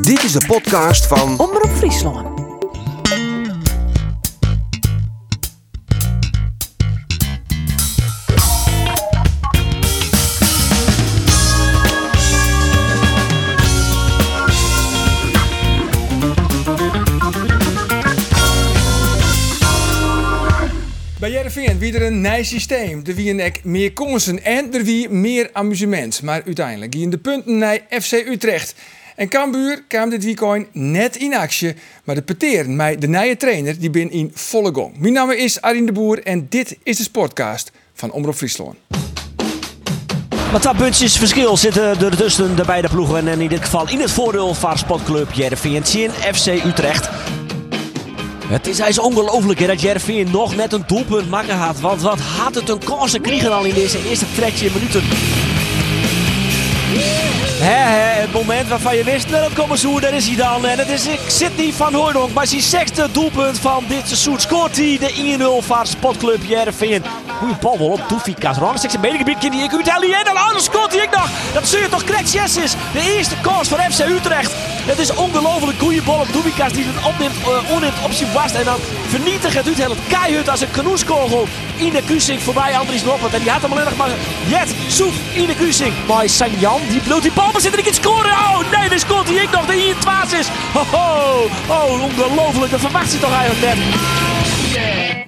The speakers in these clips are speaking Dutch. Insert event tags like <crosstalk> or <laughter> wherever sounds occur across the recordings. Dit is de podcast van Omroep Friesland. Bij Jereveen wie er een nieuw systeem. Er wie een meer kansen en er wie meer amusement. Maar uiteindelijk gingen de punten naar FC Utrecht. En Cambuur kwam dit weekend net in actie. Maar de peteren mij de nieuwe trainer die bin in volle gang. Mijn naam is Arjen de Boer en dit is de Sportcast van Omroep Friesland. Maar dat puntjes verschil zitten er tussen de beide ploegen. En in dit geval in het voordeel van Sportclub Jervin Tjin FC Utrecht. Het is eens ongelooflijk hè, dat Jervin nog net een doelpunt maken had. Want wat had het een kansen kriegen al in deze eerste trekje minuten. Hè, hè, het moment waarvan je wist, nou, dat komt zo, daar is hij dan. En het is Sidney van Hooydonk, maar zijn zesde doelpunt van dit seizoen. Scoort hij de 1-0 van Sportclub Jervin. Goeie bal wel op Toefie Kasran. Seks een bedengebied, kind die ik Italië. En dan anders scoort hij ik nog. Dat zie je toch, Kretsch is de eerste kans voor FC Utrecht. Het is ongelooflijk goede bal op Doemikas die het opneemt, eh, onneemt op zijn vast. En dan vernietigt het Utrecht het keihard als een kanoeskogel. Ine Kusink voorbij Andries Noppert. En die had hem alleen nog maar. Jet zoekt Ine Kusink. Maar Sanjan, die bloot die bal, maar zit er niet in scoren. Oh nee, dan scoort hij ik nog. De hier twaas is. Ho, ho. Oh, ongelooflijk. Dat verwacht ze toch eigenlijk net.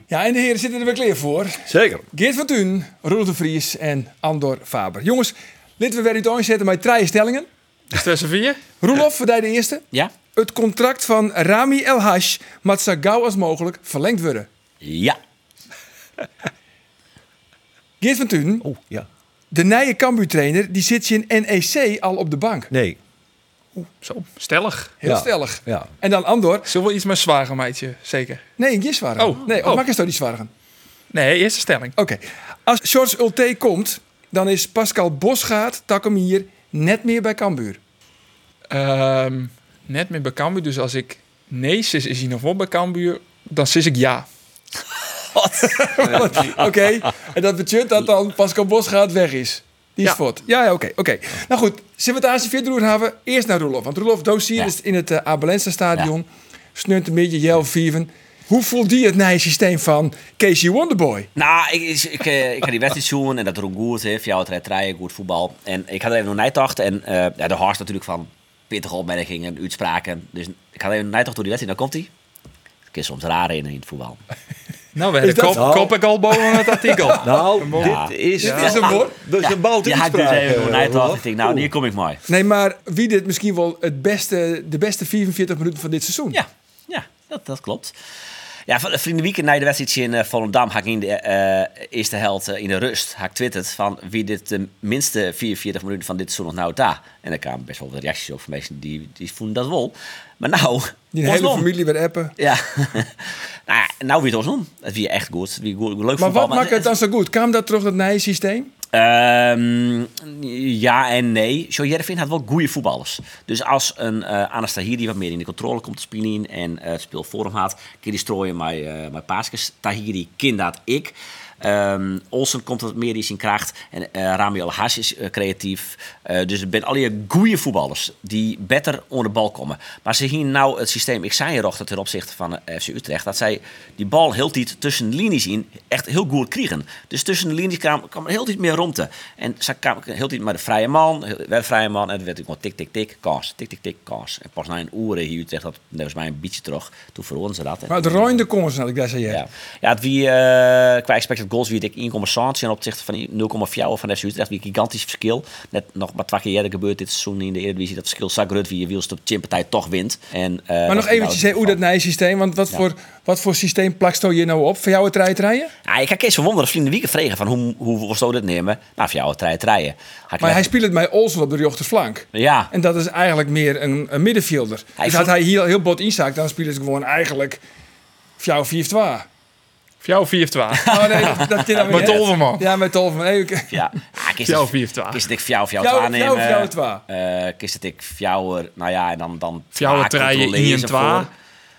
Ja, en de heren zitten er weer klaar voor. Zeker. Geert Fortuyn, Roel de Vries en Andor Faber. Jongens, laten we weer uit aanzetten met drie stellingen. Stressen vier? Roelof, voor jij de eerste. Ja? Het contract van Rami El Hash moet zo gauw als mogelijk verlengd worden. Ja. Geert van Thun, Oh, ja. de nieuwe Cambuur-trainer, die zit in NEC al op de bank. Nee. Zo, stellig. Heel Ja. stellig. Ja. En dan Andor, Zullen we iets met zwager, meidje? Zeker. nee, een zwaargen. Oh. Nee, of Oh. maak eens toch die zwaargen. Nee, eerste stelling. Oké. Als George Ulte komt, dan is Pascal Bosgaard, takken hier, net meer bij Cambuur. Ehm, net met bij Cambuur, dus als ik nee sis is hij nog wel bij Cambuur, dan sis ik <laughs> ja. <laughs> Oké, en dat betekent dat dan Pascal Bosgaard weg is. Die is Ja. voort. Ja, ja, oké. oké. Nou goed, zullen we het aanzien verder hebben? Eerst naar Roelof. Want Roelof Dossier Ja. is in het eh Abelense stadion. Sneunt een beetje, Jel Vieven. Hoe voelt die het nieuwe systeem van Casey Wonderboy? Nou, ik, ik, ik, eh, ik ga die wedstrijd zien en dat er ook goed is. Ja, het rijdt rijden, goed voetbal. En ik had er even nog nijtocht. En eh ja, de Horst natuurlijk van pittige opmerkingen, uitspraken. Dus ik had even een nijtocht door die wedstrijd. Dan komt hij. Het is soms raar in, in het voetbal. Nou, we hebben dat- kop, Nou. kop ik al boven het artikel. Nou, Oh. Ja. dit is... Dit is hem, hoor. Dat is een ja, bout die Ah. had ik dus inspraak, even nog eh, nijtocht. Roelof. Ik denk, nou, hier kom ik mooi. Nee, maar wie dit misschien wel het beste, de beste 44 minuten van dit seizoen. Ja, ja dat, dat klopt. Ja, van- vrienden weekend na de wedstrijd in eh, Volendam had ik in de eh, eerste helft eh, in de rust had ik twitterd van wie dit eh, de minste 44 minuten van dit seizoen nog nou daar. En daar kwamen best wel wat reacties op van mensen die, die voelen dat wel. Maar nou, Die hele alsnog. familie weer appen. Ja, <laughs> nou, ja, nou weer het alsnog. Het wie echt goed. Het wie goed, leuk Maar voetbal, wat maakt het het- dan zo goed? Kwam dat terug, dat nieuwe systeem? Ehm, ja en nee. Zo Jervin had wel goede voetballers. Dus als een eh Anastahiri wat meer in de controle komt te spelen in en eh het speel voor hem had, kun je strooien met, eh met Paaskes. Tahiri kind dat ik. Ehm Olsen komt wat meer in zijn kracht. En eh, Rami El Haas is eh, creatief. Eh, dus het zijn alle goede voetballers die beter onder de bal komen. Maar ze zien nou het systeem. Ik zei er ook dat ten opzichte van eh, FC Utrecht. Dat zij die bal heel tijd tussen de linies in echt heel goed kregen. Dus tussen de linies kwam, kwam er heel tijd meer rondte. En ze kwam heel tijd maar de vrije man. heel- Werd vrije man. En het werd ook gewoon tik, tik, tik. Kans. Tik, tik, tik. Kans. En pas na een oeren hier Utrecht. Dat volgens mij een beetje terug. Toen verloren ze dat. En- Maar het roinde kans, had ik daar zei. ja. ja, het wie, eh, qua expected goals wie ik 1,6 ten opzichte van die 0,4 van FC Utrecht. Wie een gigantisch verschil. Net nog maar twee keer eerder gebeurd dit seizoen in de Eredivisie. Dat verschil zag Rut wie je wielst op partij toch wint. En, eh, Maar nog is nou eventjes, hè, hoe dat geval. nieuwe systeem? Want wat, voor, wat voor systeem plakst je nou op? Voor jou het rijden rijden? Ja, Ah, ik ga Kees van Wonderen vrienden wieken vregen van hoe, hoe, hoe zou dit nemen? Nou, voor jou het rijden rijden. Had ik Maar hij net- speelt het bij Olsen op de rechterflank. Ja. En dat is eigenlijk meer een, een middenvelder. Hij dus had voelt- hij hier heel bot inzaakt, dan speelt het gewoon eigenlijk voor jou 4 2 Voor jou 4 12. Oh nee, dat, dat kan dan weer Met net. Tolverman. Ja, met Tolverman. Nee, oké. Ja, ah, kist Voor jou het 4 12. Kist het ik voor jou voor jou Voor het jou- voor jou, voor jou het aannemen. waar. Eh, Kist het ik voor jou, er- nou ja, en dan... dan Voor jou het vaak rijden controleren in en ze twa. voor.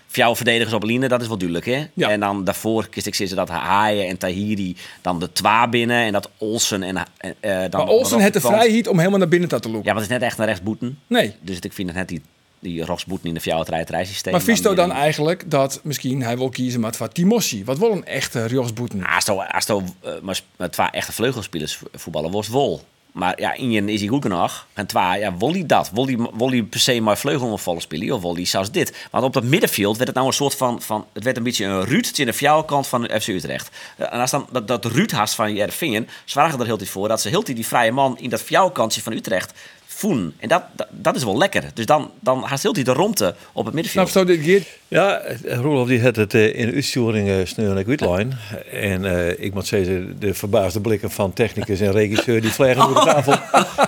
Voor jou verdedigers op Line, dat is wel duidelijk, hè? Ja. En dan daarvoor kies ik ze dat Haaien en Tahiri dan de twa binnen. En dat Olsen en... en, eh, dan Maar Olsen dan had de kant. vrijheid om helemaal naar binnen te lopen. Ja, want het is net echt een rechtsboeten. Nee. Dus ik vind het net die die Rogsboeten in de fjouwert rijdt rijsysteem. Maar visto dan die- eigenlijk dat misschien hij wil kiezen maar wat Timossi. Wat wil een echte Riosboeten? Als hij als hij, eh, maar sp- met twee echte vleugelspelers vo- voetballen, was wol. Maar ja, Ingen is hij goed genoeg. En twee, ja, wil hij dat? Wil hij, wil hij per se maar vleugelomvallen spelen? Of wil hij zelfs dit? Want op dat middenveld werd het nou een soort van... van het werd een beetje een Ruud in de fjouwerkant van FC Utrecht. Eh, En als dan dat, dat Ruud haast van Jervingen... zwaar er heel tijd voor dat ze heel tijd die vrije man... in dat fjouwerkantje van Utrecht voen. En dat, dat, dat is wel lekker. Dus dan, dan haast heel tijd de romte op het middenveld. Snap je dit keer? Ja, Roelof die had het eh, in de uitsturing uh, sneuwelijk uitlijn. En eh, ik moet zeggen, de verbaasde blikken van technicus en regisseur die vliegen over de tafel.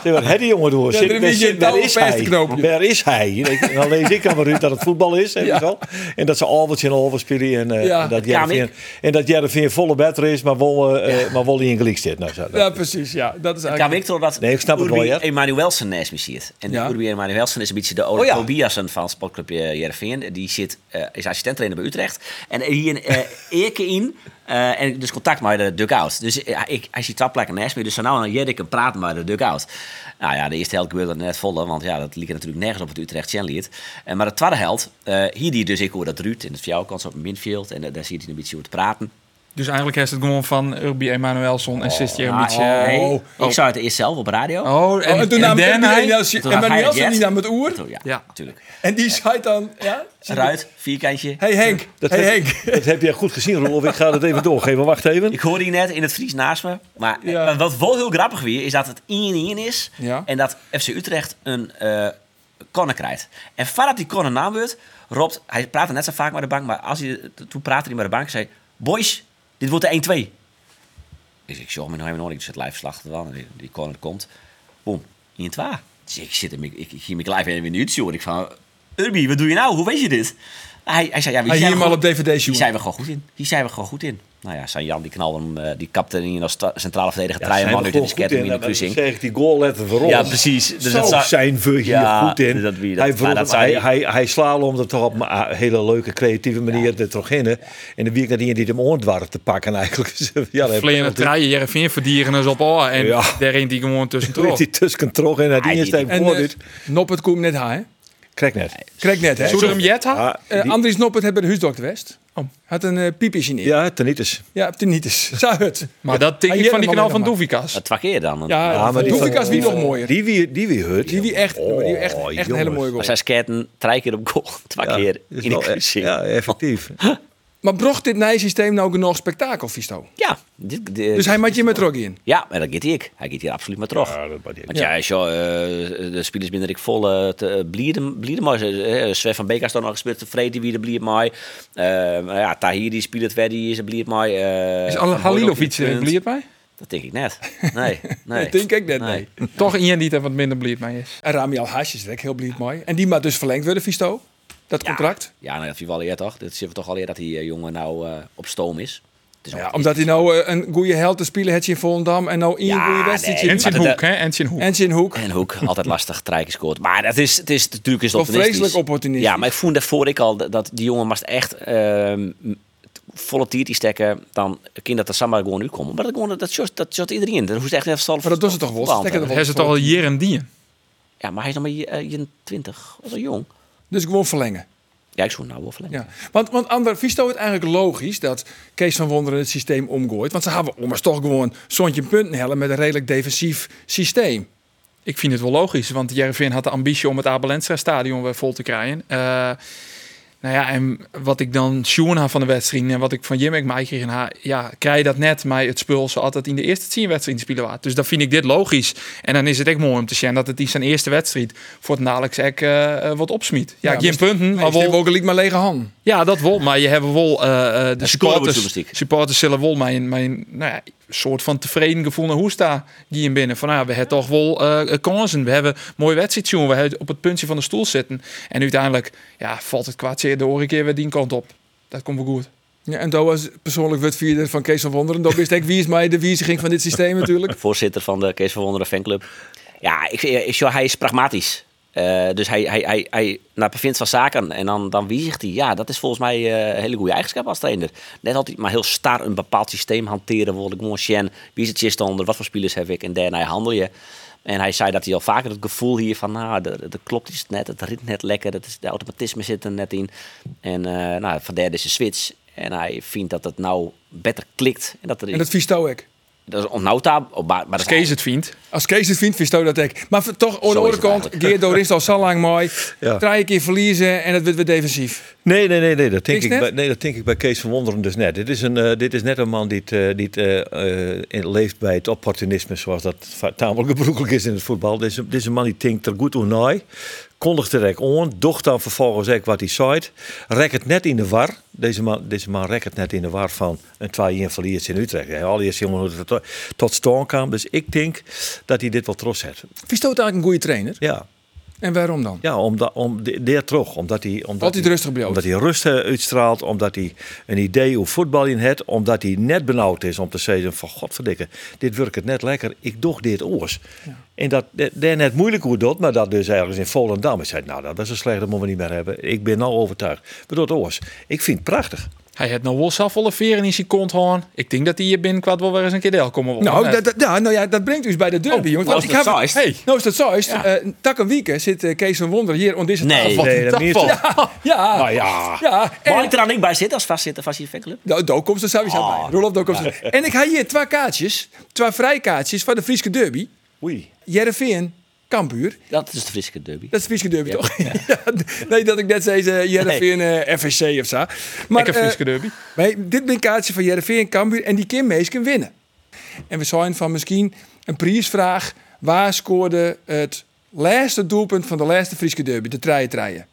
Zeg, wat had die jongen door? Oh. Ja, Zit- er is een waar zit- waar is touw vast te hij? knopen. Waar is hij? En ik- en dan lees ik dan maar uit dat het voetbal is. En, zo. en dat ze Alberts en Alvers spelen. En, eh, Ja, en dat dat kan Jervin, en dat Jervin volle better is, maar wel, eh, eh, maar wel in gelijk zit. Nou, zo, Ja, precies. Ja, dat is Ja, maar eigenlijk... ik toch dat Nee, ik snap het Urbi wel, ja. Emanuelsen naast me zit. En Ja. Urbi Emanuelsen is een beetje de Ole Oh, ja. Tobiasen van sportclub eh, Heerenveen. Die zit, eh, is assistent-trainer bij Utrecht. En hier een eh eke in. eh, en dus contact met de dugout. Dus eh, ik, hij ziet twee plekken naast me. Dus zo nou en Jerdik en praten met de dugout. Nou ja, de eerste helft gebeurde net volle. Want ja, dat liep natuurlijk nergens op het utrecht lied. En Maar de tweede helft, eh, hier die dus ik hoor dat Ruud in het Fjouwkans op het midfield. En eh, daar zie je een beetje over te praten. Dus eigenlijk heeft het gewoon van Urbi Emanuelson en Sistje een Ah, beetje... nee. eh, Ik zou het eerst zelf op radio. Oh, Oh, en, en toen en nam Dan hij- Toen nam en hij Manuelsen Jet. die nam het oer. Zo, Ja, Ja. natuurlijk. En die zei dan... Ja? Ruit, vierkantje. Hey Henk. Dat hey heb, Henk. dat heb je goed gezien, Roelof. Ik ga het even doorgeven. Wacht even. Ik hoorde die net in het Fries naast me. Maar eh, Ja. maar wat wel heel grappig weer is dat het 1-1 is. Ja. En dat FC Utrecht een eh corner krijgt. En voordat die corner naam wordt, roept... Hij praatte net zo vaak met de bank. Maar als hij, toen praatte hij met de bank. zei, boys, dit wordt de 1-2. Dus ik joh, mijn helemaal nooit. Ik zet live slag ervan. Die, die corner komt. Boom, 1-2. Dus ik zit hem, ik, ik, ik ging mijn live even in de uurtje. En ik van, Urbi, wat doe je nou? Hoe weet je dit? Hij, hij zei, ja, weet Hij jij hier hem nog- al op DVD hier shoot. zijn we gewoon goed in. Hier zijn we gewoon goed in. Nou ja, San Jan die knalde hem, eh, die kapte hem in als sta- centrale verdediger. Ja, zijn man we uit in de gewoon goed sketting in de dat kruising. zeg ik die goal letter voor ons. Ja, precies. Dus Zo dat zou- zijn we hier Ja, dus goed in. dat wie- dat- hij, vroeg maar dat hem- zou hij, je- hij, hij slalomt er toch op een eh, hele leuke, creatieve manier er toch in. hè. En de week nadien die hem oordwarf te pakken eigenlijk. <laughs> ja, dan Vleerende traaien, Jereveen verdieren is op al. En Ja. daarin die gewoon tussendoor. heeft hij tussen trog en nadien Hij is hij die- En voor eh, dit. Noppert komt net haar, hè? Krijg net. dus- Kreeg net, hè? Zullen we hem jet ha? Ah, Eh, die- Andries Noppert hebben de huisdokter West. Oh. Had een eh piepje in. Ja. Ja, Tenitis. ja, op de nietes. Zou het. Maar dat denk Ah, ik Jelle van die mag kanaal nog van maar. Doevikas. Twee keer dan. want- Ja, Ja, maar die Doevikas wie nog mooier. Die wie, die wie hurt. Die wie echt, die wie echt, Oh, echt een hele jongens. mooie goal. Maar zij skaten drie keer op goal. <laughs> Twee Ja, keer is in de wel- kruising. Ja, Ja. <laughs> effectief. Maar brocht dit nieuwe systeem nou genoeg spektakel, Visto? dit, Dus hij maakt je met Rocky in. Ja, maar dat gaat ik. Hij gaat hier absoluut maar terug. Ja, dat was die- Want ja, als je, eh, de spelers binnen ik vol eh, te- eh, blieden, blieden maar. Eh, Sven van Beek is dan nog gespeeld. De Vrede wie de blied mij. Eh, maar ja, Tahiri speelt het weer, die is een blied mij. Eh, Is Van Hooydonk Halilovic iets punt. er bliert bij? Dat denk ik net. <laughs> Nee, nee. Dat denk ik net, nee. Toch iemand die er wat minder bliert bij is. En Rami al Haas is ook heel blij mooi. En die mag dus verlengd worden, Visto? Dat contract? Ja, nou, dat viel wel eer toch? Dat zien we toch al eer dat die eh, jongen nou eh, op stoom is. Het is Ja, wel- omdat hij nou eh, een goede held te spelen heeft in Volendam. En nou één Ja, goede nee. wedstrijdje. En doet. zijn Maar de- hoek, hè? En zijn hoek. En zijn hoek. En Hoek, altijd lastig, trijk scoort. Maar dat is, het is natuurlijk is het Wel opportunistisch. vreselijk opportunistisch. Ja, maar ik voelde daarvoor ik al dat- dat die jongen moest echt ehm volle tier die stekken. Dan kind dat de Samba gewoon nu komen. Maar dat, gewoon, dat, shot, dat shot iedereen. Dat hoeft echt net zelf. Maar dat doen ze toch wel? Ze voetbal te stekken er hebben. Hij is het toch al hier en die. Ja, maar hij is nog maar eh, 21. Of zo jong. Dus gewoon verlengen. Ja, ik zou nou wel verlengen. Ja. Want, want ander, Visto het eigenlijk logisch dat Kees van Wonderen het systeem omgooit. Want ze hebben ommers toch gewoon zontje punten hellen met een redelijk defensief systeem. Ik vind het wel logisch, want Jervin had de ambitie om het Abelensra stadion weer vol te krijgen. Eh, nou ja, en wat ik dan sjoen had van de wedstrijd en wat ik van Jim en mij kreeg, nou, ja, krijg je dat net, maar het spul ze altijd in de eerste tien wedstrijden spelen waard. Dus dan vind ik dit logisch. En dan is het echt mooi om te zien dat het in zijn eerste wedstrijd voor het Nalex ook eh, eh, wat opsmiet. Ja, Ja, Jim maar- punten, Maar maar we wel, hebben ook gelijk maar lege hand. ja, dat wel, maar je hebt wel eh, eh, de supporters, scorebordjournalistiek. supporters zullen wel mijn, mijn nou ja, soort van tevreden gevoel naar hoe sta die in binnen. Van nou, we hebben toch wel eh kansen, we hebben een mooie wedstrijd zien, we hebben op het puntje van de stoel zitten. En uiteindelijk ja, valt het kwaad zeer de oren keer weer die kant op. Dat komt wel goed. Ja, en dat was persoonlijk wetvierde van Kees van Wonderen. Dat wist ik wie is mij de wijziging van dit systeem <laughs> natuurlijk. voorzitter van de Kees van Wonderen fanclub. Ja, ik, ik, joh, hij is pragmatisch. Eh, dus hij, hij, hij, hij naar bevindt van zaken en dan, dan wiezigt hij. Ja, dat is volgens mij eh, een hele goede eigenschap als trainer. Net altijd maar heel star een bepaald systeem hanteren. Wil ik gewoon zien, wie is het je onder, wat voor spelers heb ik en daarna handel je. En hij zei dat hij al vaker het gevoel hier van, nou, de- de klopt iets net, het rit net lekker, dat is, de automatisme zit er net in. En eh nou, van derde is de switch. En hij vindt dat het nou beter klikt. En dat, er, En dat vies ik. dat is onnauta, maar, maar dat Als is Kees het vindt. Als Kees het vindt, verstoot dat ik. Maar v- toch, aan de Zo is andere het kant, eigenlijk. Geert Doris al zo lang <laughs> mooi. Ja. Draai een keer verliezen en dat wordt weer defensief. Nee, nee, nee, nee, dat denk Niks net? ik bij, nee, dat denk ik bij Kees van Wonderen dus net. Dit is, een, eh, dit is net een man die, het, eh, die het, eh, eh, in- leeft bij het opportunisme, zoals dat va- tamelijk gebruikelijk is in het voetbal. Dit is, een- dit is een man die denkt er goed over na, kondigt er echt aan, docht dan vervolgens ook wat hij zei. Rek het net in de war. Deze man, deze man rek het net in de war van een 2-1 verlies in Utrecht. Hij al eerst helemaal hoe het tot, tot stand kwam. Dus ik denk dat hij dit wel trots heeft. Verstoot eigenlijk een goede trainer. Ja. En waarom dan? Ja, omdat, om, de- daar terug. Omdat hij, omdat Altijd rustig blijft. Omdat hij rust eh, uitstraalt. Omdat hij een idee hoe voetbal in het. Omdat hij net benauwd is om te zeggen van... Godverdikke, dit werkt het net lekker. Ik doch dit oors. En dat, dat- daar net moeilijk hoe dat. Maar dat dus ergens in Volendam. Ik zei, nou dat is een slecht, dat moeten we niet meer hebben. Ik ben nou overtuigd. Maar dat oors. Ik vind het <laughs> prachtig. Hij had nou wel zelf wel een veren in zijn kont hoorn. Ik denk dat hij hier binnenkort wel weer eens een keer deel komen Eh, wordt. Nou, Nee. dat, dat- ja, nou ja, dat brengt u dus bij de derby, jongens. nou Want is ik dat heb- zeist. Hey, nou is dat zo. Is, eh, tak een week hè, zit eh, Kees van Wonderen hier om deze Nee. tafel. Wat Nee, een dat dag meer van. toch. Ja. Nou ja. Ja, en Mag Oh, ik er dan niet bij zitten als vastzitten, vastzitten fanclub? Nou, daar komt ze sowieso Ah. bij. Roelof, daar komt ze. En ik ga hier twee kaartjes, twee vrijkaartjes van de Frieske derby. Oei. Jereveen, Kambuur. Dat is de Friese derby. Dat is Frieske derby, toch? <laughs> Ja, d- nee, dat ik net zei uh, Jereveen eh, FSC of zo. Maar, Ik heb eh, Frieske derby. nee, dit ben kaartje van Jereveen, Kambuur. En die Kim Mees kan winnen. En we zijn van misschien een prijsvraag. Waar scoorde het laatste doelpunt van de laatste Frieske derby? De treien treien.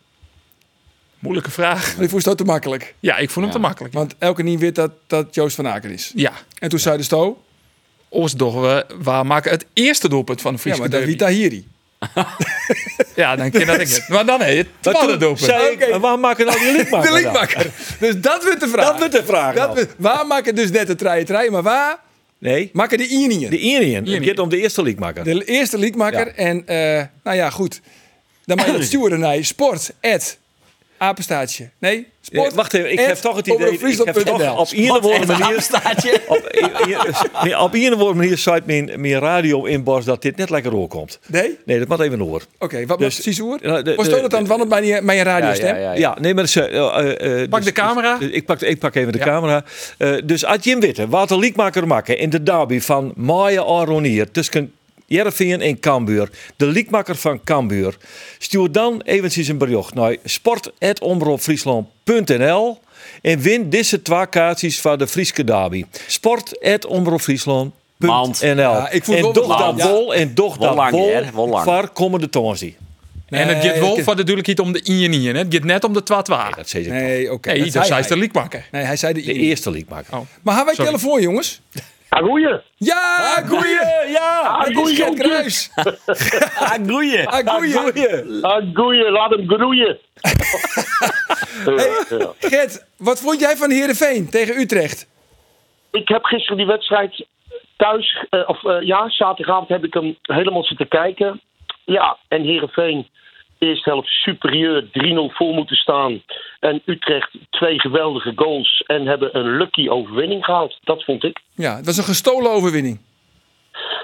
Moeilijke vraag. Maar ik vond het te makkelijk. Ja, ik vond hem te makkelijk. Want elke niet weet dat dat Joost van Aken is. Ja, En toen zei de Sto... ons doch we waar maken het eerste doelpunt van de Ja, Friese maar dat derby. wie Tahiri. Ja, dan ken dat ik het. Maar dan hé, het Maar tweede toen doelpunt. zei ik, Oké. maar waarom maken nou <laughs> die linkmaker De dan? linkmaker. Dus dat wordt de vraag. Dat wordt de vraag Dat dan. wordt- Waar maken dus net de treien treien, maar waar Nee, maken de Ieringen? de De, Iriën. Het gaat om de eerste linkmaker. eerste liedmaker. Ja. En eh, nou ja, goed. Dan <clears throat> mag je dat sturen naar sport. at apenstaartje. Nee, sport. Ja, wacht even, ik at heb toch het idee. Ik heb omroepfriesland.nl. toch op iedere woord manier. <laughs> staatje. Op, i- i- nee, op iedere woord manier zei mijn, mijn radio inborst dat dit net lekker doorkomt. Nee? Nee, dat moet even door. Oké, wat Dus- precies hoor? Ja, de- Was de- dat het aan het wandelen bij je, bij je radiostem? Ja, ja, ja. Ja, nee, maar... ze- eh, eh, Pak dus- de camera. dus- dus ik, pak, ik pak even de Ja. camera. Eh, dus uit Jim Witte, Wouter Liekmaker maken in de derby van Maya Aronier tussen Jervin en Cambuur. De Liekmaker van Cambuur. Stuur dan eventjes een bericht naar sport.omroepfriesland.nl en win deze twee kaartjes van de Frieske derby. Sport.omroepfriesland.nl Want- Ja, ik voel en wel doch dat belang. bol en doch Wel dat lang, bol hè? Wel lang. waar komende tonsie. En het Nee, gaat wel ik- van natuurlijk niet om de Injenien. Het gaat net om de Nee, 12 dat zei ik toch. Nee, oké. Nee, zei dat zei hij. ze de leak maken. Nee, hij zei de De Ieringen. eerste Liekmaker. Maar hebben wij Sorry. telefoon, jongens? Ah, goeie. Ja, goeie! Ja! Ah, Dit is goeie, Gert Kruis. <laughs> Ah, groeien. Ah, goeie! Ah, goeie. Laat hem groeien. Ja, ja. Gert, wat vond jij van Heerenveen tegen Utrecht? Ik heb gisteren die wedstrijd thuis, eh, of eh, ja, zaterdagavond heb ik hem helemaal zitten kijken. Ja, en Heerenveen eerst helft superieur 3-0 voor moeten staan. En Utrecht twee geweldige goals en hebben een lucky overwinning gehaald. Dat vond ik. Ja, het was een gestolen overwinning.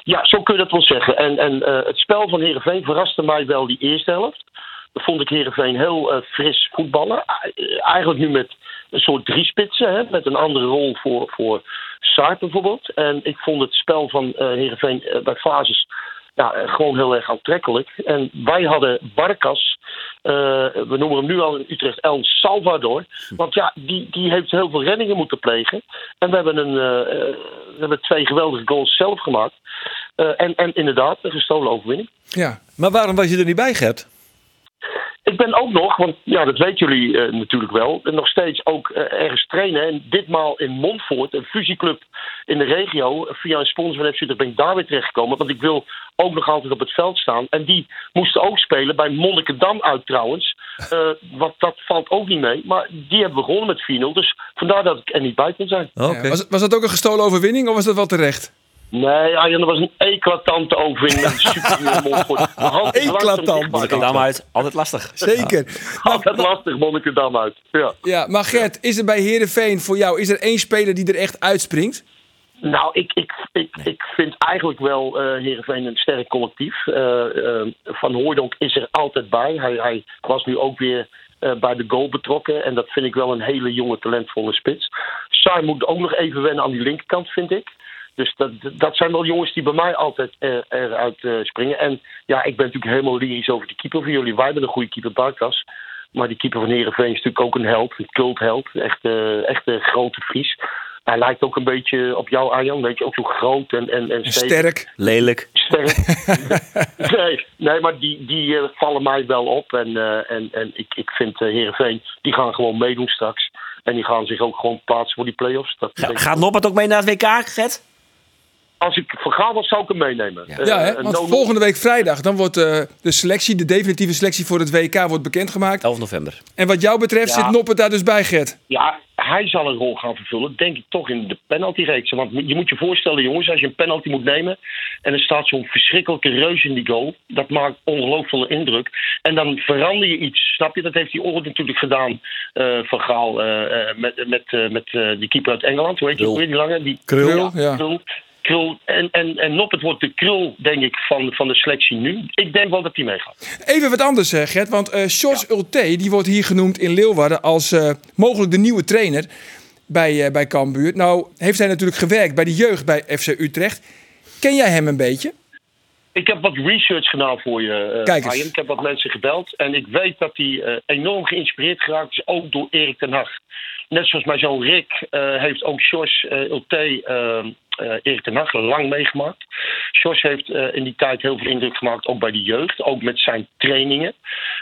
Ja, zo kun je dat wel zeggen. En, en eh, het spel van Heerenveen verraste mij wel die eerste helft. Dat vond ik Heerenveen heel eh, fris voetballen. Eh, eigenlijk nu met een soort driespitsen, hè, met een andere rol voor, voor Saar bijvoorbeeld. En ik vond het spel van eh Heerenveen eh, bij fases ja, eh, gewoon heel erg aantrekkelijk. En wij hadden Barkas, eh, we noemen hem nu al in Utrecht El Salvador. Want ja, die, die heeft heel veel reddingen moeten plegen. En we hebben, een, eh, eh, we hebben twee geweldige goals zelf gemaakt. Eh, en, en inderdaad, een gestolen overwinning. Ja. Maar waarom was je er niet bij, Gert? Ik ben ook nog, want ja, dat weten jullie eh, natuurlijk wel, en nog steeds ook eh, ergens trainen. En ditmaal in Montfort, een fusieclub in de regio, eh, via een sponsor van FC Utrecht ben ik daar weer terechtgekomen. Want ik wil ook nog altijd op het veld staan. En die moesten ook spelen bij Monnikendam uit trouwens. Eh want dat valt ook niet mee. Maar die hebben we gewonnen met 4-0. Dus vandaar dat ik er niet bij kon zijn. Oké. <laughs> Ja, was, was dat ook een gestolen overwinning of was dat wel terecht? Nee, Arjen, dat was een eclatante overwinning. Een super Montfort. We hadden het langzaam Eclatant. dichtbij Mag ik er gehad. dan uit? Altijd lastig. Zeker. Altijd lastig, Monnikendam uit. Ja. Ja, maar Gert, is er bij Heerenveen voor jou is er één speler die er echt uitspringt? Nou, ik, ik, ik, ik vind eigenlijk wel eh Heerenveen een sterk collectief. Eh, eh, Van Hooijdonk is er altijd bij. Hij, hij was nu ook weer eh, bij de goal betrokken. En dat vind ik wel een hele jonge, talentvolle spits. Saar moet ook nog even wennen aan die linkerkant, vind ik. Dus dat, dat zijn wel jongens die bij mij altijd eh, eruit eh, springen. En ja, ik ben natuurlijk helemaal lyrisch over de keeper van jullie. Wij hebben een goede keeper, Barkas. Maar die keeper van Heerenveen is natuurlijk ook een held. Een cultheld. Echt, eh, echt een grote Fries. Hij lijkt ook een beetje op jou, Arjan. Weet je, ook zo groot en, en, en stevig. Sterk. Lelijk. <laughs> Sterk. nee, nee, maar die, die eh, vallen mij wel op. En, eh, en, en ik, ik vind eh Heerenveen, die gaan gewoon meedoen straks. En die gaan zich ook gewoon plaatsen voor die play-offs. Dat Ga, denk ik. gaat Noppert ook mee naar het WK, Gert? Als ik vergaal was, zou ik hem meenemen. Eh, Ja, hè? een want no- volgende week vrijdag dan wordt eh, de selectie, de definitieve selectie voor het WK wordt bekendgemaakt. 11 november. En wat jou betreft Ja. zit Noppert daar dus bij, Gert. Ja, hij zal een rol gaan vervullen, denk ik toch, in de penaltyreeks. Want je moet je voorstellen, jongens, als je een penalty moet nemen... en er staat zo'n verschrikkelijke reus in die goal... dat maakt ongelooflijk veel indruk. En dan verander je iets, snap je? Dat heeft die Oren natuurlijk gedaan, eh Van Gaal... eh, eh, met, met, eh, met eh, die keeper uit Engeland, hoe heet die, Krul. ook weer, die lange? Die, Krul, ja. Krul. Krul. En, en, en Noppet wordt de krul, denk ik, van, van de selectie nu. Ik denk wel dat hij meegaat. Even wat anders, eh, Gert. Want eh Sjors Ulte die wordt hier genoemd in Leeuwarden als eh, mogelijk de nieuwe trainer bij, eh, bij Cambuur. Nou heeft hij natuurlijk gewerkt bij de jeugd bij FC Utrecht. Ken jij hem een beetje? Ik heb wat research gedaan voor je, eh, Kijk eens. Arjen. Ik heb wat mensen gebeld. En ik weet dat hij eh, enorm geïnspireerd geraakt is, ook door Erik ten Hag. Net zoals mijn zoon Rick eh, heeft ook Sjors eh Ulte eh, eh, Erik ten Hag lang meegemaakt. Sjors heeft eh, in die tijd heel veel indruk gemaakt, ook bij de jeugd. Ook met zijn trainingen.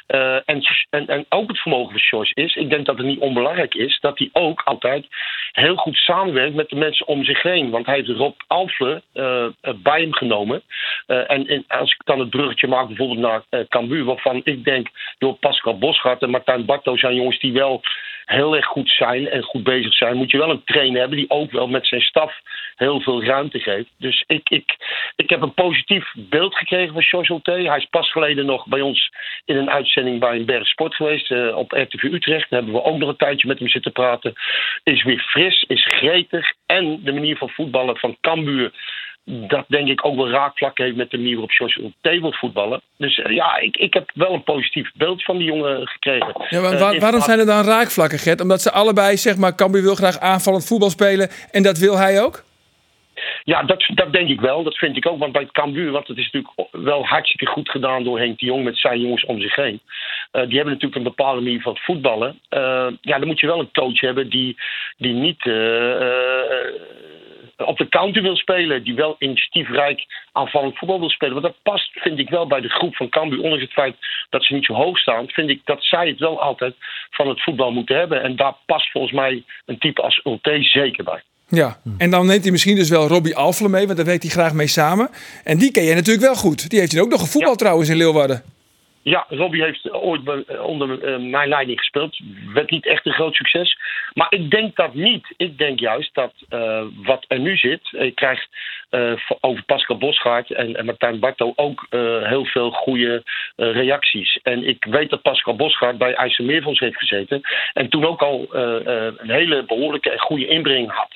Eh, en, en, en ook het vermogen van Sjors is, ik denk dat het niet onbelangrijk is... dat hij ook altijd heel goed samenwerkt met de mensen om zich heen. Want hij heeft Rob Alfle eh, eh, bij hem genomen. Eh, en, en als ik dan het bruggetje maak bijvoorbeeld naar eh Cambuur... waarvan ik denk door Pascal Boschart en Martijn Barto zijn jongens die wel heel erg goed zijn en goed bezig zijn... moet je wel een trainer hebben die ook wel met zijn staf heel veel ruimte geeft. Dus ik, ik, ik heb een positief beeld gekregen van George Holte. Hij is pas geleden nog bij ons in een uitzending bij een Berg Sport geweest eh, op RTV Utrecht. Daar hebben we ook nog een tijdje met hem zitten praten. Is weer fris, is gretig en de manier van voetballen van Cambuur. Dat denk ik ook wel raakvlak heeft met de manier waarop George Holte wil voetballen. Dus eh, ja, ik, ik heb wel een positief beeld van die jongen gekregen. Ja, maar Eh, wa- waarom in plaats- zijn er dan raakvlakken, Gert? Omdat ze allebei, zeg maar, Cambuur wil graag aanvallend voetbal spelen. En dat wil hij ook? Ja, dat, dat denk ik wel. Dat vind ik ook. Want bij Cambuur, want het is natuurlijk wel hartstikke goed gedaan door Henk de Jong met zijn jongens om zich heen. Eh, die hebben natuurlijk een bepaalde manier van voetballen. Eh, ja, dan moet je wel een coach hebben die, die niet eh, eh, op de counter wil spelen. Die wel initiatiefrijk aanvallend voetbal wil spelen. Want dat past, vind ik wel, bij de groep van Cambuur. Ondanks het feit dat ze niet zo hoog staan, vind ik dat zij het wel altijd van het voetbal moeten hebben. En daar past volgens mij een type als Ulte zeker bij. Ja. Hm. En dan neemt hij misschien dus wel Robbie Alfle mee, want daar werkt hij graag mee samen. En die ken jij natuurlijk wel goed. Die heeft hij ook nog gevoetbald Ja. trouwens in Leeuwarden. Ja, Robbie heeft ooit bij- onder eh, mijn leiding gespeeld. Werd niet echt een groot succes. Maar ik denk dat niet. Ik denk juist dat eh, wat er nu zit. Ik krijg eh, v- over Pascal Bosgaard en, en Martijn Barto ook eh, heel veel goede eh, reacties. En ik weet dat Pascal Bosgaard bij IJsselmeerfonds heeft gezeten. En toen ook al eh, eh, een hele behoorlijke en goede inbreng had.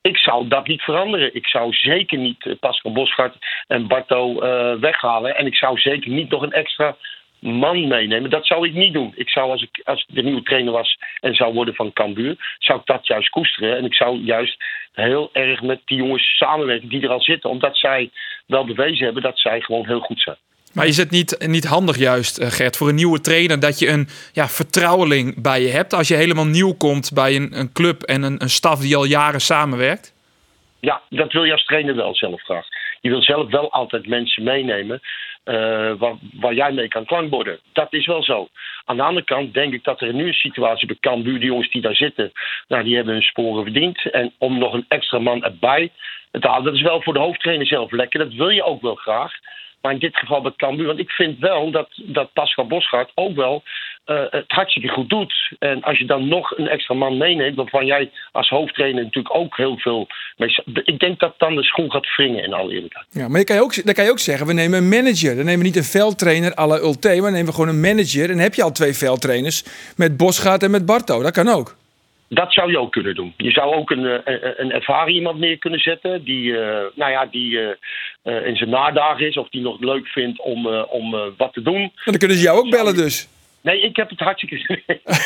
Ik zou dat niet veranderen. Ik zou zeker niet eh, Pascal Bosgaard en Barto eh, weghalen. En ik zou zeker niet nog een extra man meenemen. Dat zou ik niet doen. Ik zou, als ik, als ik de nieuwe trainer was en zou worden van Cambuur, zou ik dat juist koesteren. En ik zou juist heel erg met die jongens samenwerken die er al zitten. Omdat zij wel bewezen hebben dat zij gewoon heel goed zijn. Maar is het niet, niet handig juist, eh, Gert, voor een nieuwe trainer dat je een ja, vertrouweling bij je hebt als je helemaal nieuw komt bij een, een club en een, een staf die al jaren samenwerkt? Ja, dat wil je als trainer wel zelf graag. Je wil zelf wel altijd mensen meenemen eh, waar, waar jij mee kan klankborden. Dat is wel zo. Aan de andere kant denk ik dat er nu een situatie bij Cambuur, die jongens die daar zitten, nou, die hebben hun sporen verdiend. En om nog een extra man erbij te halen, dat is wel voor de hoofdtrainer zelf lekker. Dat wil je ook wel graag. Maar in dit geval bij Cambuur, want ik vind wel dat, dat Pascal Bosgaard ook wel eh, het hartstikke goed doet. En als je dan nog een extra man meeneemt, waarvan jij als hoofdtrainer natuurlijk ook heel veel mee... Ik denk dat dan de schoen gaat wringen, in alle eerlijkheid. Ja, maar je kan je ook, dan kan je ook zeggen, we nemen een manager. Dan nemen we niet een veldtrainer à la Ulte, maar dan nemen we gewoon een manager. En dan heb je al twee veldtrainers met Bosgaard en met Barto. Dat kan ook. Dat zou je ook kunnen doen. Je zou ook een, eh, een, een ervaren iemand neer kunnen zetten die, eh, nou ja, die eh, eh, in zijn nadagen is of die nog leuk vindt om, eh, om eh, wat te doen. dan kunnen ze jou ook bellen dus. Nee, ik heb het hartstikke <laughs> zin.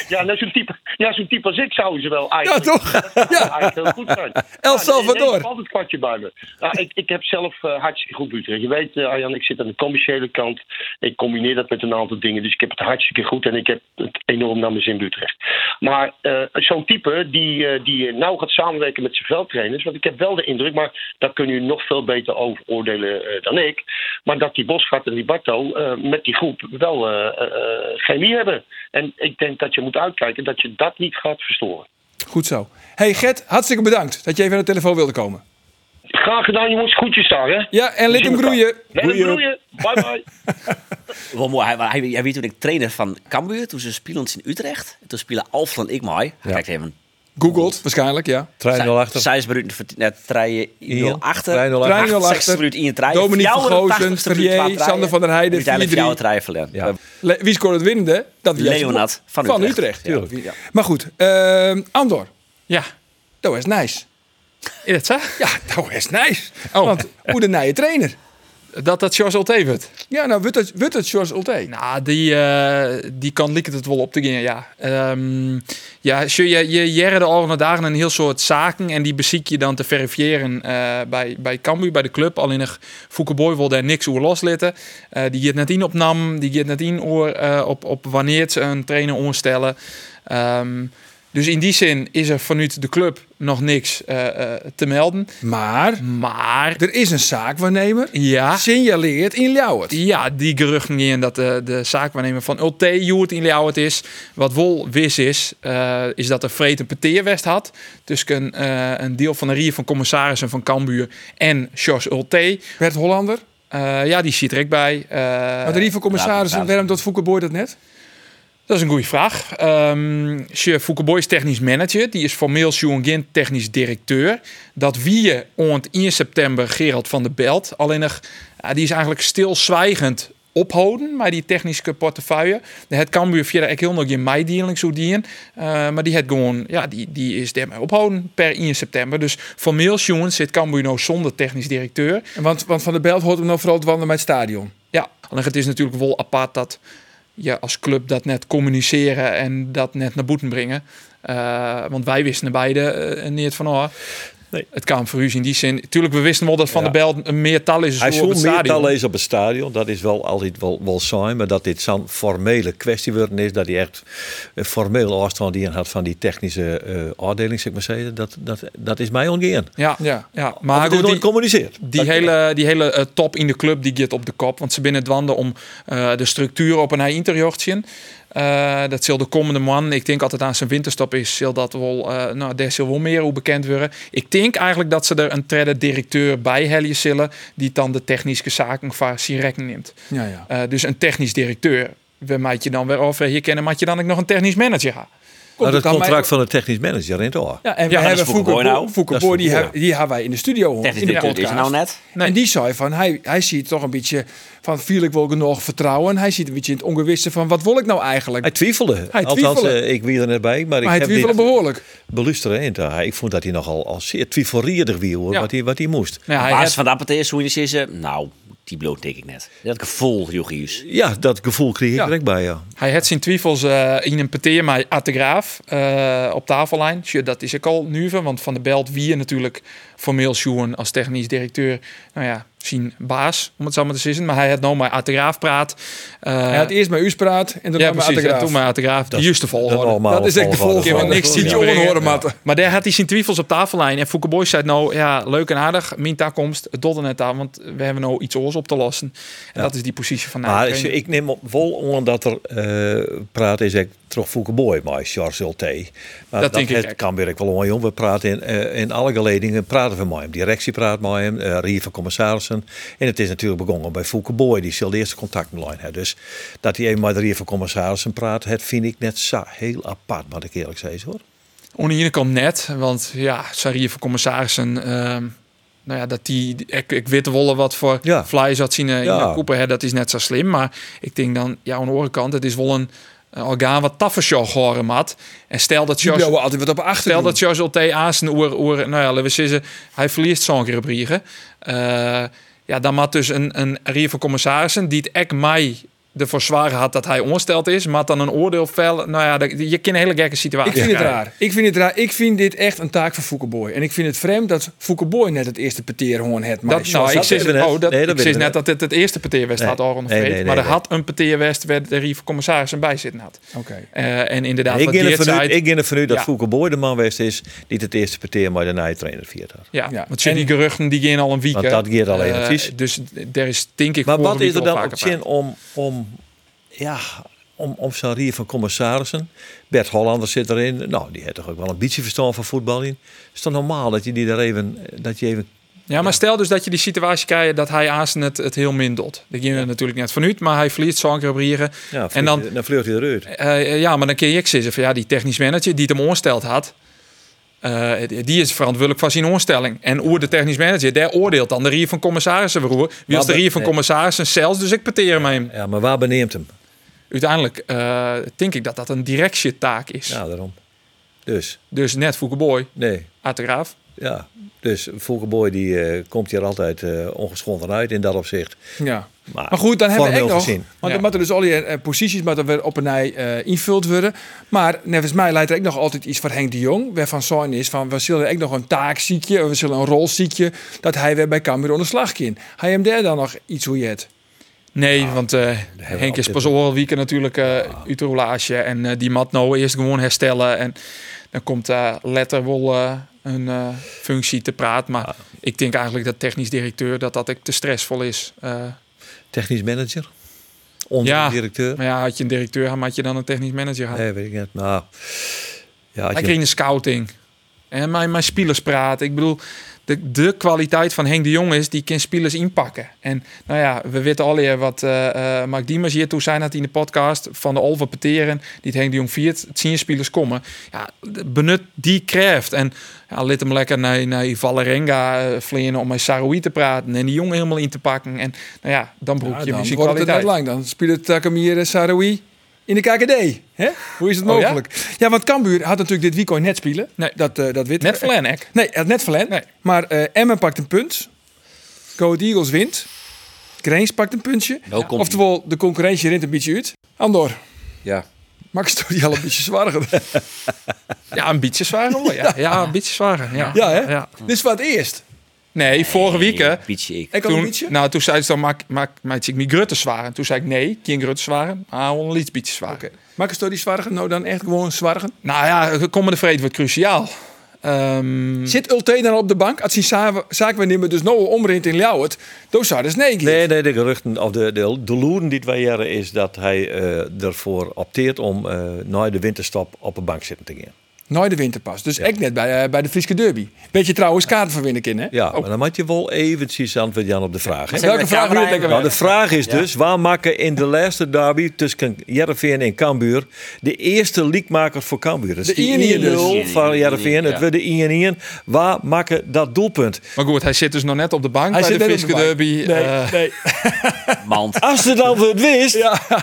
ja, nou, zo'n type, ja, zo'n type als ik zouden ze wel eigenlijk. Ja, toch? Dat zou eigenlijk heel goed zijn. El Ja, Salvador. Ik heb altijd kwartje bij me. Ja, ik, ik heb zelf eh, hartstikke goed buiten. Je weet, eh, Arjan, ik zit aan de commerciële kant. Ik combineer dat met een aantal dingen. Dus ik heb het hartstikke goed en ik heb het enorm naar mijn zin Utrecht. Maar eh, zo'n type die, eh, die nou gaat samenwerken met zijn veldtrainers. Want ik heb wel de indruk, maar daar kunnen jullie nog veel beter over oordelen eh, dan ik. Maar dat die Bosvat en die Barto eh, met die groep wel eh, eh, eh, chemie hebben. En ik denk dat je moet uitkijken dat je dat niet gaat verstoren. Goed zo. Hey Gert, hartstikke bedankt dat je even aan de telefoon wilde komen. Graag gedaan, jongens. Groetjes daar, hè? Ja, en We laat hem zien elkaar. groeien. Let hem groeien. Bye bye. Wel mooi. Hij, hij, hij werd toen ik trainer van Cambuur. Toen ze speelden in Utrecht. Toen spelen Alfred en ik mij. Hij kijkt even. Googelt waarschijnlijk, ja. Trein al achter. 6 minuten voor net treien. 0 achter. 3-0 achter. 6 3-0 minuten in je trein. Dominique Vergozen, Verrier, Sander van der Heijden, Uiteindelijk 4-3. jouw trein verleden. Ja. Le- Wie scoort het winnende? Dat wie Leonard van Van Utrecht. Utrecht. Tuurlijk. Ja. Maar goed, ehm, Andor, Ja, dat is nice. is dat zo? Ja, dat is nice. Oh. Want hoe <laughs> de nieuwe trainer. Dat dat Charles Olte wordt. Ja, nou wordt het, wordt het George Ulte. Nou, die, eh, die kan likken het wel op te gaan, ja. Ehm, ja, zo je, je jaren de al dagen een heel soort zaken en die beziek je dan te verifiëren eh, bij, bij Cambuur, bij de club. Alleen nog Fouke Boy wil daar niks over loslitten. Eh, die gaat net in op nam, die gaat net in oor, eh, op, op wanneer ze een trainer onstellen. Ehm, dus in die zin is er vanuit de club nog niks eh, eh, te melden. Maar Maar er is een zaakwaarnemer. ja. Signaleert in Ljouwert. Ja, die geruchten in dat de, de zaakwaarnemer van Ulte Joert in Ljouwert is. Wat wel wis is, eh, is dat er vreed een peteerwest had. Tussen een, eh, een deel van de rier van commissarissen van Cambuur en Jos Ulte. Bert Hollander. Eh, ja, die zit er ook bij. Eh, Maar de Rieve laten commissarissen, we- waarom dat Foukeboy dat net? Dat is een goede vraag. Ehm Sje Foucault is technisch manager. Die is formeel Sjoen Gint technisch directeur. Dat wie je ont 1 september Gerald van der Belt. Alleen nog, ja, die is eigenlijk stilzwijgend ophouden. Maar die technische portefeuille. De het Cambuur verder ik heel nog in mei dealing zo dien. Eh, maar die het gewoon, ja, die, die is daarmee ophouden per 1 september. Dus formeel Sjoen zit Cambuur nou zonder technisch directeur. Want, want Van der Belt hoort hem nou vooral te wandelen bij het stadion. Ja, alleen het is natuurlijk wel apart dat je als club dat net communiceren en dat net naar boeten brengen. Eh, want wij wisten er beide eh, niet van, oh, Nee. het kan voor u in die zin. Tuurlijk, we wisten wel dat Van Ja. der Belt een meer tal is. Hij dan op het zon meer stadion. tal is op het stadion. Dat is wel altijd wel, wel saai. Maar dat dit zo'n formele kwestie worden is. Dat hij echt eh, formeel afstand die had van die technische eh afdeling, zeg maar zeggen. Dat, dat, dat is mij ongeën. Ja, Ja. ja. maar het is goed, nooit die, gecommuniceerd. die Dat- hele, die hele eh, top in de club die gaat op de kop. Want ze binnen het wanden om eh, de structuur op een hei interjochtje. Eh dat zal de komende man, ik denk altijd aan zijn winterstop is, zal dat wel, eh, nou, daar zal wel meer hoe bekend worden. Ik denk eigenlijk dat ze er een tredde directeur bij Helje zullen, die dan de technische zaken van Sirek neemt. Ja, ja. Eh, dus een technisch directeur, we maak je dan weer over, hier kennen, maak je dan ook nog een technisch manager gaan. Nou, het dat aan contract mij- van de technisch manager in het oor. Ja, en Ja, we dat hebben is Fouke Boy Foukeboy, nou. Dat Foukeboy is die, Fouke hebben- die hebben wij in de studio gehoord. Technisch in de directeur is er nou podcast. net. Nee. En die zei van, hij, hij ziet toch een beetje van, viel ik wel genoeg vertrouwen? Hij ziet een beetje in het ongewisse van, wat wil ik nou eigenlijk? Hij twijfelde. Hij Althans, twijfelde. eh, ik wie er net bij. Maar, maar ik hij heb dit twijfelde behoorlijk. belusteren. En daar- ik vond dat hij nogal als zeer twijfelrierder wie hoor. Ja. Wat, hij, wat hij moest. Nou, Op hij basis heeft- van dat partij hoe je zegt, eh, nou, die bloot denk ik net. Dat gevoel, Jochius. Ja, dat gevoel kreeg ik Ja. Oh, direct bij. Ja. Hij had zijn twijfels eh, in een peteer maar at de graaf eh, op tafellijn. Tja, dat is ook al nu van, want Van der Belt wie je natuurlijk formeel Sjoen als technisch directeur, nou ja, zien baas, om het zo maar te zeggen. Maar hij had nou maar at de graaf praat. Eh, Hij had eerst met u praat en dan ja, ja, met precies. Attegraaf. Toen maar at de graaf. De juiste Dat volgorde. allemaal Dat is echt de volgorde volgende. van- maar niks Ja. ziet die je oren Ja. horen, matten. Maar daar had hij zijn twijfels op tafellijn. En Fouke Boy zei nou, ja, leuk en aardig. Mijn komt het dodden net aan, want we hebben nou iets oors op te lossen. En dat is die positie van nou, Maar ik weet ik, niet. ik neem op wol omdat er eh praat is ik terug Fouke Boy, maar Charles Ulte. Maar Dat denk ik het ook. kan weer ik wel mooi om. We praten in, eh, in alle geledingen praten we met hem. Directie praat met hem, eh Rier van Commissarissen. En het is natuurlijk begonnen bij Fouke Boy, die zal de eerste contact met hem hebben. Dus dat hij even met de Rier van Commissarissen praat, het vind ik net zo heel apart, moet ik eerlijk zeggen hoor. Aan de ene kant net, want ja, Sarieven voor commissarissen. ehm, nou ja, dat die, ik, ik weet wel wat voor Ja. fly zat zien eh, in Ja. de koeper, hè, dat is net zo slim. Maar ik denk dan, ja, aan de andere kant, het is wel een, eh, eh, orgaan wat taffe show horen mat. En stel dat Jos, we altijd wat op achter. stel dat Jos Ulte aans een oer, oer, nou ja, laten we zeggen, hij verliest zo'n keer op Riegen. Eh, ja, dan moet dus een, een rier van commissarissen die het ek mij ervoor zwaar had dat hij onsteld is, maar dan een oordeel fel. Nou ja, dat- je kent een hele gekke situatie. Ik vind het krijgen. raar. Ik vind het raar. Ik vind dit echt een taak voor Foukeboy. En ik vind het vreemd dat Foukeboy net het eerste peteerhoorn het maar Dat, nou, ik dat zeg weten net, we net. oh, dat, Nee, dat ik zeg weten we net net. dat dit het eerste peteerwest Nee. had al Nee, nee, nee, maar er nee. Oh. had een peteerwest waar de Rief commissaris een bij zitten had. Oké. Eh, en inderdaad, Ik wat ging Geert ervan uit- zei, ik ging ervan uit dat Ja. Fouke Boy de man geweest is die het eerste partij maar de nijtrainer viert had. ja, Ja. want die geruchten die gaan al een week. Want hè. dat gaat alleen, Eh, precies. Dus er is denk ik Maar vorige wat is week er wel dan op vaker bij. zin om, om, ja, om, om zo'n rier van commissarissen? Bert Hollander zit erin. Nou, die heeft toch ook wel een beetje verstand van voetbal in. Is het normaal dat je die daar even... Dat je even Ja, maar stel dus dat je die situatie krijgt dat hij aan het, het heel min doet. Dat ging er natuurlijk net vanuit, maar hij verliest zo'n keer op Riegen. ja, en dan, dan, dan vleurt hij eruit. Eh, ja, maar dan kun je ik zeggen van ja, die technisch manager die het hem oorsteld had, eh, die is verantwoordelijk voor zijn oorstelling. En oer de technisch manager, daar oordeelt dan de rier van commissarissen verroer. Wie als de Maar be- rier van nee. commissarissen zelfs, dus ik peteer met hem. Ja, maar waar beneemt hem? Uiteindelijk eh, denk ik dat dat een directietaak is. Ja, daarom. Dus, Dus net Foukeboy, nee. uit de graaf. Ja, dus Fouke Boy die eh, komt hier altijd eh, ongeschonden uit in dat opzicht. Ja. Maar, Maar goed, dan hebben we formeel echt nog. gezien. Want Ja. dan moeten dus al die eh, posities moeten weer op een rij eh, invuld worden. Maar nevens mij leidt er ook nog altijd iets van Henk de Jong. Waarvan zijn is van we zullen ook nog een taakziekje, we zullen een rolziekje. Dat hij weer bij Cambuur onder slag kan. Hij hem daar dan nog iets hoe je het. Nee, want eh, Nou, we Henk is altijd pas al weekend natuurlijk eh uit de roulage. En eh, die mat nou eerst gewoon herstellen. En dan komt eh letter wel eh, een eh, functie te praat. Maar ik denk eigenlijk dat technisch directeur dat dat ik te stressvol is. Eh, Technisch manager? Onder Ja. directeur? maar ja, had je een directeur gehad, had je dan een technisch manager gehad. Nee, weet ik niet. Nou, ja, Hij als kreeg je, een scouting. En mijn, mijn spelers praten. Ik bedoel, de, de kwaliteit van Henk de Jong is, die kan spelers inpakken. En nou ja, we weten al eer wat eh eh Mark Diemers hier toen zei dat in de podcast van de Olver Peteren, die het Henk de Jong viert, het zien spelers komen. Ja, de- benut die kracht. En ja, let hem lekker naar, naar Valerenga eh, vliegen om met Saroui te praten en die jongen helemaal in te pakken. En nou ja, dan broek Ja, je dan misschien wordt het eh, er net kwaliteit. lang. Dan speelt Takamir Saroui in de KKD. Hè? Hoe is het Oh, ja? mogelijk? ja? want Cambuur had natuurlijk dit weekend net spelen. Nee. Dat, eh dat wit. Net Flanek. Nee, het net verlend. Nee. Maar eh Emmen pakt een punt. Go Ahead Eagles wint. Grains pakt een puntje. Nou komt-ie. Oftewel, de concurrentie rent een beetje uit. Andor, Ja. Max doet die al een beetje zwaarder. <laughs> Ja, een beetje zwaarder. hoor. Ja, ja, een beetje zwaarder. Ja, Ja, hè? Dit is wat eerst. Nee, vorige week hè, Pietje ik. Ik had een Toen, beetje. nou, toen zei ze dan, maak, maak, maak ik mijn grutters waren. Toen zei ik, nee, geen grutters waren, maar wel een liedbietjes waren. Oké. Max doet die zwaarder. Nou, dan echt gewoon zwaarder. Nou ja, de komende vrede wordt cruciaal. Ehm, Zit Ulte dan op de bank? Als die za- zaak we nemen dus nou omrint in Ljouwert. Dan zou dus nee gaan. nee, nee, de geruchten of de, de, de loeren die wij jaren is dat hij eh, ervoor opteert om eh, na de winterstop op een bank zitten te gaan. Nooit de winterpas. Dus ik net bij, eh, bij de Frieske Derby. Weet je trouwens kaarten van winnen, kind, hè? Ja, maar dan moet je wel eventjes antwoord Jan op de vraag. hè? Welke Ja, vraag wil je het lekker Nou, weten? de vraag is dus, waar maken in de laatste derby tussen Jereveen en Cambuur de eerste leakmaker voor Cambuur? Dat De is die 1-1 dus. 1-0 van Jereveen, het werd de 1-1. Waar maken dat doelpunt? maar goed, hij zit dus nog net op de bank Hij bij zit de net op Friske de bank. Derby. Eh, nee. Nou, Mand. Als je het antwoord wist,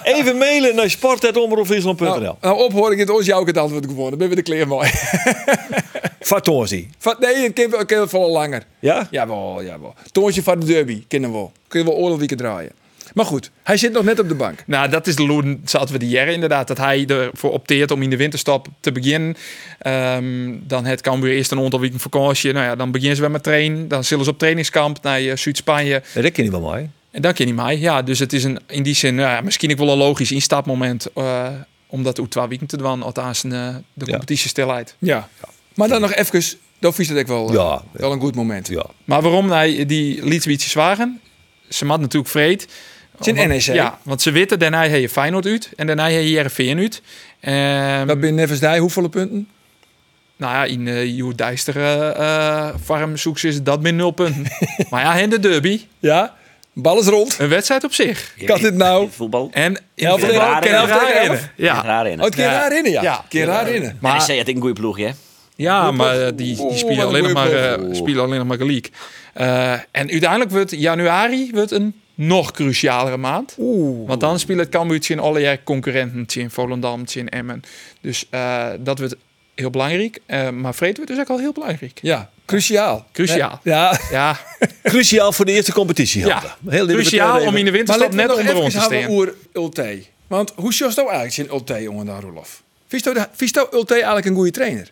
even mailen naar sport.omroepfriesland.nl. Nou, nou ophoor ik het ons jou ook het antwoord geworden. Ben we de kleer mooi. <laughs> Fatonzi, Van- nee, het kind kan wel langer. ja? Jawel, jawel. Toontje van de derby, kennen we wel. Kun je wel oorlogwieken draaien. Maar goed, hij zit nog net op de bank. nou, dat is de loon, zaten we die jaren inderdaad, dat hij ervoor opteert om in de winterstop te beginnen. Ehm, dan het Cambuur eerst een aantal weken vakantie. Nou ja, dan beginnen ze weer met trainen. Dan zullen ze op trainingskamp naar eh, Zuid-Spanje. Nee, dat kan niet wel mooi. En dat ken je mij. Ja, dus het is een, in die zin nou ja, misschien ook wel een logisch instapmoment. eh om dat uit twee weken te doen, althans eh, de Ja. competitie stilheid. Ja. Maar dan nog even, dan vies dat ik wel, eh, Ja, ja. wel een goed moment. Ja. Maar waarom hij die Lietwietjes waren? Ze had natuurlijk vreed. Het is een NEC. Ja, want ze weten, daarna heb je Feyenoord uit en daarna heb je Heerenveen uit. Ehm, Dat ben Nevis Dij, hoeveel punten? Nou ja, in eh jouw duistere eh farm zoek ze dat min nul <laughs> punten. maar ja, en de derby, Ja. Bal is rond. een wedstrijd op zich. Ja, Kan dit nou? in Voetbal. En in Elf tegen voetbal elf, kan elf het tegen raar elf. in. Ja. Ja, Raar in. Oh, het keer Ja. raar in, ja. Ja. Keer raar in. Maar... maar NEC had ik een goede ploeg, hè? Ja, Goeie maar ploeg. eh, die, die Oh, Oeh, spelen wat een alleen nog maar, goeie eh, ploeg. spelen alleen nog maar gelijk. Eh, en uiteindelijk wordt januari wordt een nog crucialere maand. Oeh. Want dan spelen het Cambuur in alle jaar concurrenten in Volendam, in Emmen. Dus eh, dat wordt heel belangrijk. Eh, maar Vreed wordt dus ook al heel belangrijk. Ja, cruciaal. Cruciaal. Ja. Ja, Cruciaal voor de eerste competitie. ja. hadden. Heel dit cruciaal betreft om in de Maar winterstop laten we net nog onder ons even te houden over staan. Ulte. Want hoe zocht nou eigenlijk zijn Ulte, jongen, dan Roelof? Visto Ulte eigenlijk een goede trainer?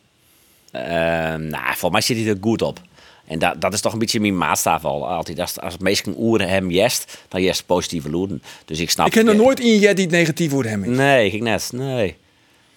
Eh, nou, volgens mij zit hij er goed op. En dat, dat is toch een beetje mijn maatstaf al. Altijd, als, als het meest kan oeren hem jest, dan jest positieve loeren. Dus ik snap... Ik ken nog nooit in je die het negatief wordt hem is. Nee, ik net. Nee.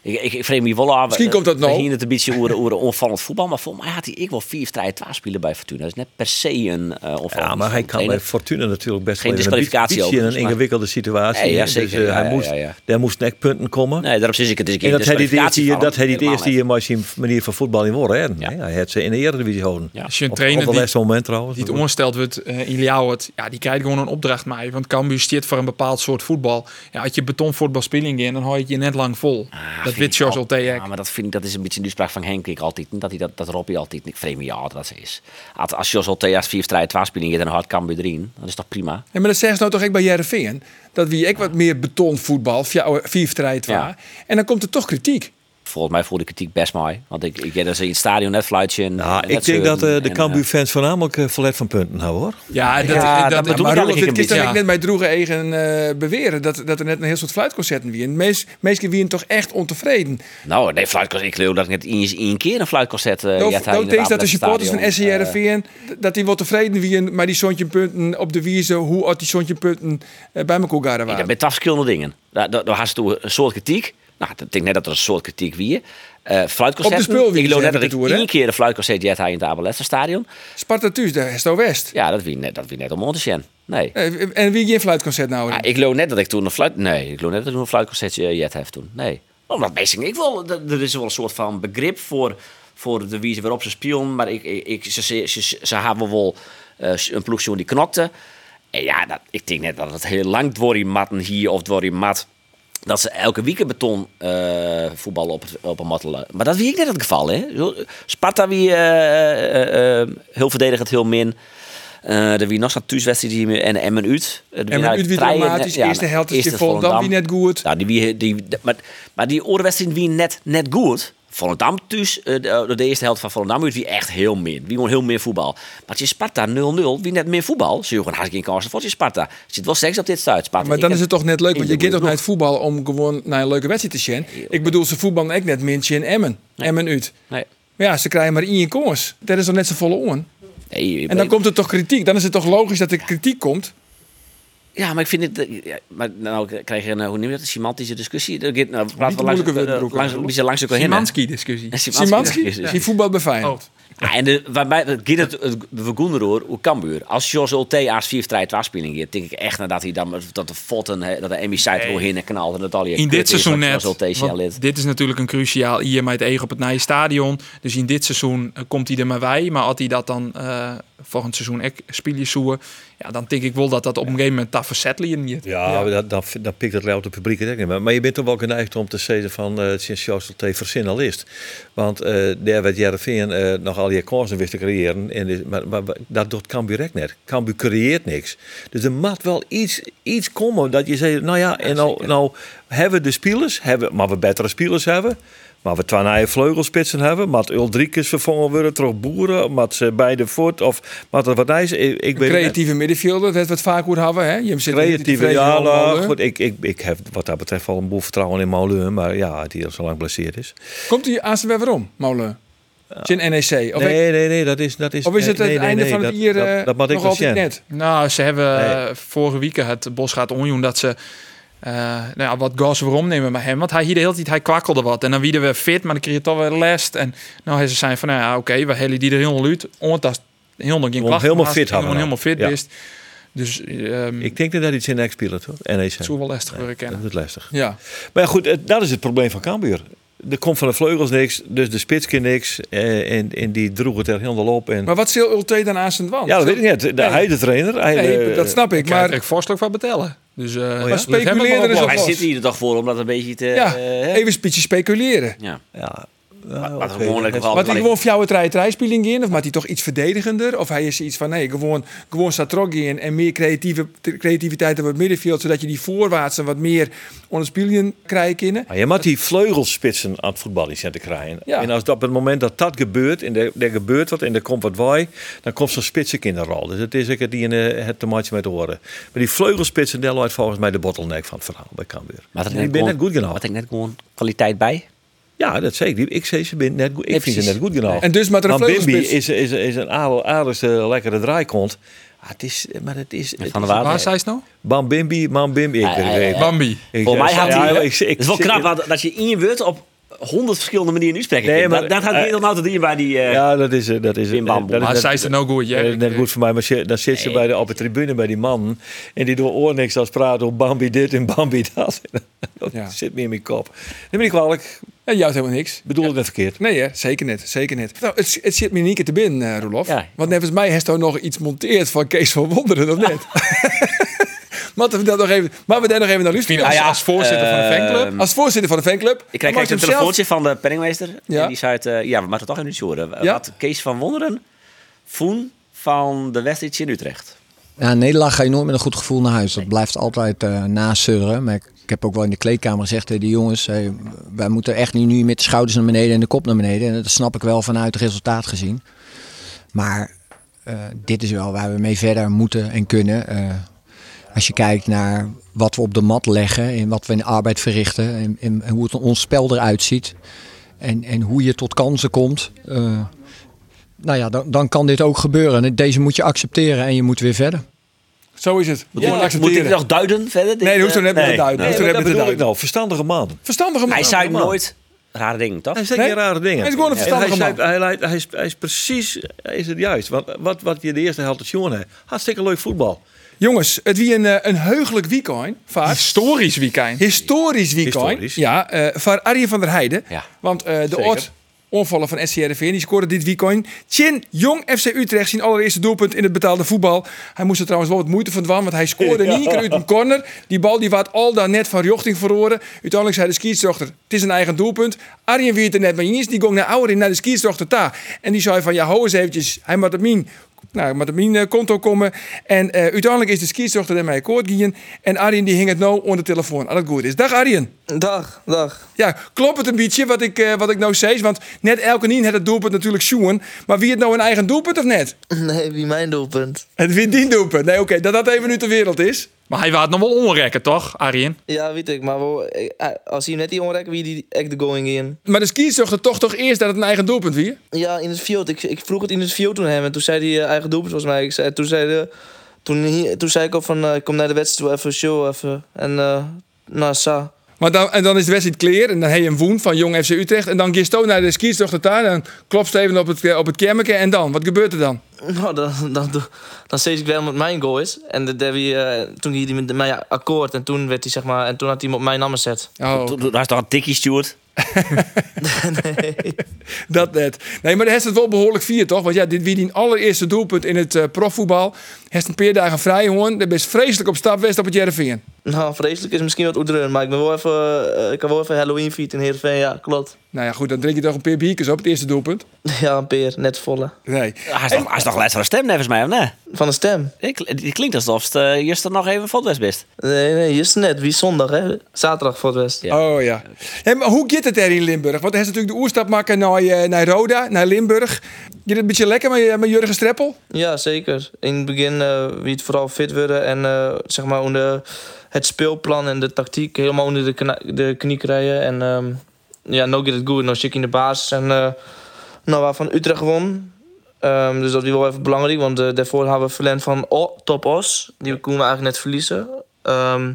Ik, ik, ik vreemd me wel aan. Misschien komt dat nou. Hier het een beetje oer, oer, onvallend voetbal. Maar volgens mij had hij ik wel vier strijd twaalf spelen bij Fortuna. Dat is net per se een eh onvallend Ja, maar hij kan bij trainer. Fortuna natuurlijk best Geen wel in een disqualificatie beetje in een overigens, maar- ingewikkelde situatie. Nee, ja, Dus, zeker. eh, Ja, hij ja, moest, ja, ja. Daar moest net punten komen. Nee, daarom zit ik het. Dus ik en dat dus hij dit kwalificatie eerste, vallen. dat hij dit Helemaal eerste net. hier maar zijn manier van voetbal in worden. hè. Ja. Nee, Hij had ze in de Eredivisie houden. Ja. Als je een Op- trainer op het die- laatste moment trouwens. die het onsteld wordt eh, in Ljouwert, ja, die krijgt gewoon een opdracht mee. Want Cambuur steert voor een bepaald soort voetbal. Ja, als je betonvoetbal speling in, dan hou je het je net lang vol. Ah, dat vind weet ik Sjors al- al tegen. Ja, maar dat, vind ik, dat is een beetje de uitspraak van Henk ik altijd. niet? Dat, hij dat, dat Robbie altijd. Ik vreemd me ja dat dat ze is. Als, als Jos Althea's vier strijd twaalf spelen en dan hard kan bij erin, dan is dat prima. Ja, maar dat zeggen ze nou toch ook bij Jereveen. Dat wie ik wat meer betonvoetbal, via- vier strijd waar. Ja. En dan komt er toch kritiek. Volgens mij voelde de kritiek best mooi. Want ik, ik denk dat ze in het stadion net fluitje. en- en Nou, net ik denk dat eh, zeuren de en, eh, Cambuur-fans voornamelijk eh, verlet van punten houden hoor. Ja, dat, Ja, dat, dat bedoel maar Roelof, ik eigenlijk dit kist een beetje, Gisteren dan heb ik ik net bij Droegen eigen eh, beweren dat, dat er net een heel soort fluitconcerten wie. En meest, meestal wie toch echt ontevreden. Nou, nee, fluitconcert. Ik geloof dat ik net één, één keer een fluitconcert eh Nou, had nou denk dat de supporters van SCRV. SCRVN dat die wel tevreden wien, maar die zontje punten op de wiezen, hoe had die zontje punten eh, bij elkaar waren. Ja, dat zijn verschillende dingen. Daar, daar, daar had ze toen een soort kritiek. Nou, ik denk net dat er een soort kritiek wie. eh fluitconcert. Op de speelwies Ik geloof net hebben dat we ik het door, hè? één keer een fluitconcert had hij in het Abelester Stadion. Sparta Thuis, de Hesto West. Ja, dat wie net, dat wie net om ons te zien. Nee. Eh, En wie geen fluitconcert nou? Ah, ik geloof net dat ik toen een fluit... Nee, ik geloof net dat ik toen een fluitconcertje eh, jet heb toen. Nee. Omdat meestal ik wel... d- Er is wel een soort van begrip voor, voor de wijze waarop ze spion. Maar ik, ik, ik- ze, ze, ze, ze hebben wel eh, een ploegje die knokte. En ja, dat, ik denk net dat het heel lang door die matten hier of door die mat... Dat ze elke week beton eh, voetballen op, het- op een mattelen. Maar dat wie ik net het geval, hè. Sparta wie eh, eh, eh, heel verdedigend, heel min. Eh er wie nog zo'n thuiswedstrijd hier en Emmen eh, Ut. En met Udwied dramatisch, eerste helft is je vol, dan wie net goed. Nou, die, wie- die, die- maar, maar die orenwedstrijd wie net, net goed. Volendam thuis, eh, de, de eerste helft van Volendam uit wie echt heel min. Wie gewoon heel meer voetbal. Maar als je Sparta 0-0, wie net meer voetbal. Zie je gewoon hartstikke in kans voor je Sparta. Er zit wel seks op dit stuit. Sparta. Maar Ik dan heb- is het toch net leuk, ik want je bedoel, gaat toch naar nog- het voetbal om gewoon naar een leuke wedstrijd te zien. Ik bedoel, ze voetballen ook net Mintje en Emmen. Emmen uit. Nee. Maar ja, ze krijgen maar één koers. Dat is dan net zo volle oren. Nee, ik En dan ben- komt er toch kritiek. Dan is het toch logisch dat er kritiek komt. Ja, maar ik vind het. eh, ja, maar nou krijg je een, hoe noem je dat, een semantische discussie. Dan gaat- nou, moeilijke laten we langs, woorden, eh, Broek, langs, een beetje langs elkaar heen. hè. Simanski-discussie. Een <laughs> Simanski Simanski, discussie. die voetbal bij Feyenoord. Oh, Ah, en de, waarbij het gaat het het- we goen erover hoe Cambuur. Als Jos Ulte als vier strijd waarspeling hier, denk ik echt nadat hij dan met- dat de fotten hè, dat de Emmy site wil heen en knalt en dat al je In kut dit is seizoen wat net. Jos Ulte want zijn lid. Dit is natuurlijk een cruciaal hier met het ego op het nieuwe stadion. Dus in dit seizoen eh, komt hij er maar wij. Maar had hij dat dan eh, volgend seizoen echt spelen zoeken, ja, dan denk ik wel dat dat op een gegeven moment dat verzet liet. niet. Ja, maar dat- dan, dan pikt het louter publiek het ook niet meer. Maar je bent toch wel geneigd om te zeggen van eh sinds Joost T. verzinnalist. Want eh daar werd Jereveen eh nog al je kansen wist te creëren. En is- maar, maar, maar dat doet Cambuur ook net. Cambuur creëert niks. Dus er moet wel iets, iets komen dat je zegt, nou ja, en nou, nou hebben we de spelers, hebben, maar we betere spelers hebben. Maar we twee nieuwe vleugelspitsen hebben. Maar Uldriekes vervangen worden, terug Boeren. Maar ze beide voort. Of maar er wat is. Ik, ik weet het net. Creatieve middenvelder, dat wat vaak goed hebben. Hè? Je zit niet Creatieve, tevreden ja, allemaal, nou, hè? goed, ik, ik, ik heb wat dat betreft wel een boel vertrouwen in Molen, maar ja, die al zo lang blesseerd is. Komt hij aan weer waarom, Molen? Zijn NEC? E Of, nee, nee, nee, dat is... Dat is of is nee, het het nee, nee, einde nee, van het dat- jaar dat- eh, Dat, mag ik nog wel altijd zien. net? Nou, ze hebben Nee. eh, vorige week het Bosgaard Onjoen dat ze eh, nou ja, wat gas waarom nemen met hem. Want hij hier de hele tijd, hij kwakkelde wat. En dan wieden we fit, maar dan kreeg je toch weer last. En nou hij ze zijn van, nou ja, oké, we hellen die er heel uit. Omdat heel nog geen Om klachten helemaal had, fit hadden Om we helemaal fit nou. bist. Dus ehm Ik denk dat dat iets in de speelt, hoor. NEC. het zou wel lastig worden Dat kennen. is lastig. Ja. Maar ja, goed, het- dat is het probleem van Cambuur. Er komt van de vleugels niks, dus de spits kan niks. eh, en, en die droeg het er helemaal op. En, Maar wat zil Ulte dan aan zijn wand? ja, dat weet ik niet. De, Hij de trainer. Hij, Nee, eh, Oh, dat snap ik. Maar Maar ik vorstelijk van betellen. Dus eh Maar laat speculeer hem maar er eens op oplossen. Hij was. zit hier er toch voor om dat een beetje te. ja, eh, even een beetje speculeren. ja. Ja, Nou, Laten we oké, gewoon dat lekker is- wel- Maar hij gewoon voor jou het rij rijspeling in? Of maakt hij toch iets verdedigender? Of hij is iets van nee, gewoon, gewoon Satrog in en meer creatieve, creativiteit op het middenveld. Zodat je die voorwaarts en wat meer onder spelen krijgt in. Maar Ah, je moet die vleugelspitsen aan het voetbal in zetten krijgen. Ja. En als dat, op het moment dat dat gebeurt, en er, er gebeurt wat en er komt wat waai, dan komt zo'n spitsen in de rol. Dus het is ik het die in eh, het tomatje met horen. Maar die vleugelspitsen, daar loopt volgens mij de bottleneck van het verhaal bij Cambuur. Maar dat die ben net goed genoeg. Had ik net gewoon kwaliteit bij. Ja, dat zeker. Die- Ik, zei, ze ben net, goed- ik Nee, vind ze net precies. goed genoeg. En dus met een Maar Bimby vleugelspits. is, is, is een aardig- aardigste lekkere draaikont. Ah, het is, maar het is... Van der het Waard. Waar zei ze nou? is- Bam Bimby, man Bimby. Ik, Ah, ja, ja, weet- ja. Bambi. ik- Volgens mij ja, had hij... ja, het is wel zit- knap dat- dat je in je woord op honderd verschillende manieren uitspreekt. Nee, Nee, maar- maar, dat had eh, Nederland nou te doen bij die... eh, Ja, dat is... eh, Dat is Wim Bamboe. dat is Maar net- zei ze nou goed, Dat is Eh, net Jerry? goed voor mij, maar ze- dan zit ze bij de, op de tribune bij die man. En die door oor niks als praten over Bambi dit en Bambi dat. <laughs> dat Ja. zit meer in mijn kop. Dan ben ik kwalijk. En jou helemaal niks. Bedoel ik dat verkeerd? Nee, hè? zeker net. Zeker net. Nou, het, het zit me niet te binnen, eh, Roelof. Ja. Want volgens mij heeft hij nog iets monteerd van Kees van Wonderen, of <laughs> net? Maar we daar nog even, maar we daar nog even naar Fien, luisteren. Nou ehm, als, als Ah, ja, voorzitter van de eh, fanclub. Als voorzitter van de fanclub. Ik kreeg maakt echt een hem zelf- telefoontje van de penningmeester. Ja. En die zei het, eh, ja, we moeten toch even iets horen. Ja. Wat Kees van Wonderen, Foen van de wedstrijd in Utrecht. Ja, in Nederland ga je nooit met een goed gevoel naar huis. Dat blijft altijd eh nasurren. Maar ik, ik heb ook wel in de kleedkamer gezegd tegen de jongens... hey, wij moeten echt niet nu met de schouders naar beneden en de kop naar beneden. En dat snap ik wel vanuit het resultaat gezien. Maar eh, dit is wel waar we mee verder moeten en kunnen. Eh, als je kijkt naar wat we op de mat leggen en wat we in de arbeid verrichten... en, en- en hoe het ons spel eruit ziet en, en hoe je tot kansen komt... eh, nou ja, dan, dan kan dit ook gebeuren. Deze moet je accepteren en je moet weer verder. Zo is het. Moet Moet- Moet ik nog duiden verder? Nee, dat hoeft er net niet te duiden. Nee, Hoeft er maar net niet te dat bedoel ik duiden. nou. Verstandige man. Verstandige man. Hij zei man. nooit rare dingen, toch? Hij zegt geen Nee, rare dingen. hij is gewoon een En verstandige hij man. Zei, hij, leidt- hij, is, hij is precies hij is het juist. Want wat, wat je de eerste helft te zien hebt. Hartstikke leuk voetbal. Jongens, het wie een, eh, een heugelijk weekend. Vaak. Historisch weekend. Historisch weekend. Historisch. Ja, eh voor Arjen van der Heijden. Ja. Want eh, de oort onvallen van SCRV, die scoorde dit weekend. Chin Jong FC Utrecht zijn allereerste doelpunt in het betaalde voetbal. Hij moest er trouwens wel wat moeite van dwan, want hij <laughs> scoorde niet keer uit een corner. Die bal die waard al daar net van Jochting verloren. Uiteindelijk zei de skierstochter, het is een eigen doelpunt. Arjen wie het er net mee eens, die ging naar Auerin, naar de skierstochter daar. En die zei van, ja, hou eens eventjes, hij moet op mijn nou, met mijn konto komen. En eh, uiteindelijk is de skierstochter ermee akkoord gegaan. En Arjen die hing het nou onder de telefoon. Als het goed is. Dag Arjen. Dag, dag. Ja, klopt het een beetje wat ik, eh, wat ik nou zei? Want net elke nien had het doelpunt natuurlijk Sjoen. Maar wie het nou een eigen doelpunt of net? <laughs> Nee, wie mijn doelpunt? Het wint die doelpunt. Nee, oké, dat dat even nu de wereld is. Maar hij waard nog wel onrekken, toch, Arjen? Ja, weet ik, maar wel, eh, als hij net die onrek, wie die echt de going in? Maar de skiers zochten toch toch eerst dat het een eigen doelpunt wie? Ja, in het field. Ik, ik vroeg het in het field toen hem en toen zei hij eh, eigen doelpunt volgens mij. Ik zei, toen, zei de, toen, hier- toen zei ik al van, eh, kom naar de wedstrijd toe even, show even. En eh nou, sa. <laughs> Maar dan, en dan is de wedstrijd clear. En dan heb je een woen van Jong FC Utrecht. En dan Gisto naar de skierstochter daar. En klopt ze even op het, eh, op het kermeke. En dan? Wat gebeurt er dan? Nou, dan, dan, dan, dan steeds ik wel met mijn goal is. En de Debbie, eh, toen ging hij met mij akkoord en toen, werd hij, zeg maar, en toen had hij hem op mijn namen gezet. Oh. Toen- toen- Daar is toch een tikkie, Stuart? Dat net. Nee, maar de heeft het wel behoorlijk vier, toch? Want ja, dit wie die allereerste doelpunt in het eh, profvoetbal. Heeft een paar dagen vrij, hoor. Dat is vreselijk op stap west op het Jereveen. Nou, vreselijk is misschien wat oederen, maar ik, ben wel even, eh, ik kan wel even Halloween feet in Heerenveen, ja, klopt. Nou ja, goed, dan drink je toch een paar biertjes op, het eerste doelpunt. <laughs> Ja, een peer, net volle. Nee. Hij is nog- hij is nog luisteren stem, volgens mij, of nee? Van de stem. Ik- Die klinkt alsof het eh, gisteren nog even vodwest best. Nee, nee, hier is het net. Wie is zondag, hè? Zaterdag voor het West. Ja. Oh ja. Hé, maar hoe gaat het er in Limburg? Want hij is natuurlijk de oerstap maken naar, eh, naar Roda, naar Limburg. Je het een beetje lekker met, eh, met Jurgen Streppel? Ja, zeker. In het begin eh wie het vooral fit worden en eh, zeg maar onder het speelplan en de tactiek helemaal onder de, kna- de knie krijgen. En ehm, ja, no get it good, no chick in de basis. En eh, nou, waarvan Utrecht won. Ehm, dus dat is wel even belangrijk, want eh, daarvoor hadden we verlend van O- Top Os. Die konden we eigenlijk net verliezen. Ehm,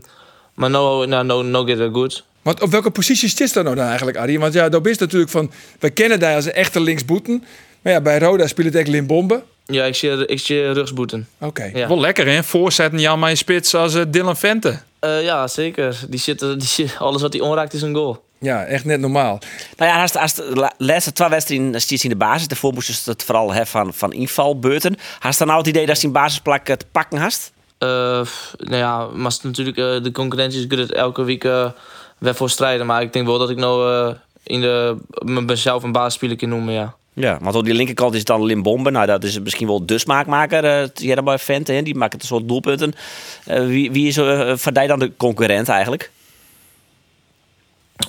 maar no, nou, no, no get it good. Want op welke positie zit dat nou dan eigenlijk, Arie? Want ja, dat is natuurlijk van... We kennen daar als een echte linksboeten. Maar ja, bij Roda speelt het echt Limbombe. Ja, ik zie, ik zie rugsboeten. Oké. Ja. Wel lekker, hè? Voorzetten Jan mijn spits als eh, Dylan Vente. Eh, ja, zeker. Die zit, die zit- alles wat hij onraakt is een goal. ja, echt net normaal. Nou ja, als de, als de la- laatste twee wedstrijden zit in de basis. Daarvoor moesten ze het vooral hebben van, van invalbeurten. Had je dan nou het idee dat ze in basisplak eh, te pakken had? Eh, pff, nou ja, maar het is natuurlijk eh, de concurrentie is goed elke week eh weer voor strijden. Maar ik denk wel dat ik nou eh, in de, mezelf een basisspeler kan noemen, ja. Ja, want op die linkerkant is het dan Limbombe. Nou, dat is misschien wel de smaakmaker. eh Tjerra bij Vente, hè, die maakt het een soort doelpunten. Eh, wie, wie is eh, Van Dijk dan de concurrent eigenlijk?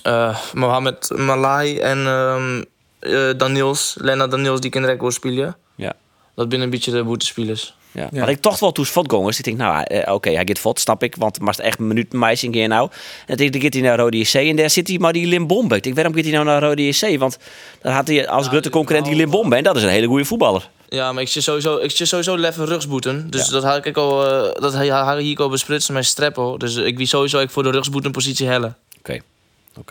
Eh, Mohamed Malai en ehm eh, Daniels, Lena Daniels, die kinderen ook spelen. Ja. Dat binnen een beetje de boetespelers. Ja. Ja. Maar ik toch wel toen Votgongers. Ik denk, nou, eh, oké, hij gaat Vot, snap ik. Want het was echt een minuut meising hier nou. En dan gaat hij naar Rode SC en daar zit hij maar die Limbombe. Ik denk, waarom gaat hij nou naar Rode SC? Want dan had hij als Rutte concurrent die Limbombe. En dat is een hele goede voetballer. Ja, maar ik zit sowieso, ik zit sowieso leffen rugsboeten. Dus dat had ik al, eh, dat had ik hier al bespritsen met streppel. Dus ik wie sowieso ik voor de rugsboeten positie hellen. Oké.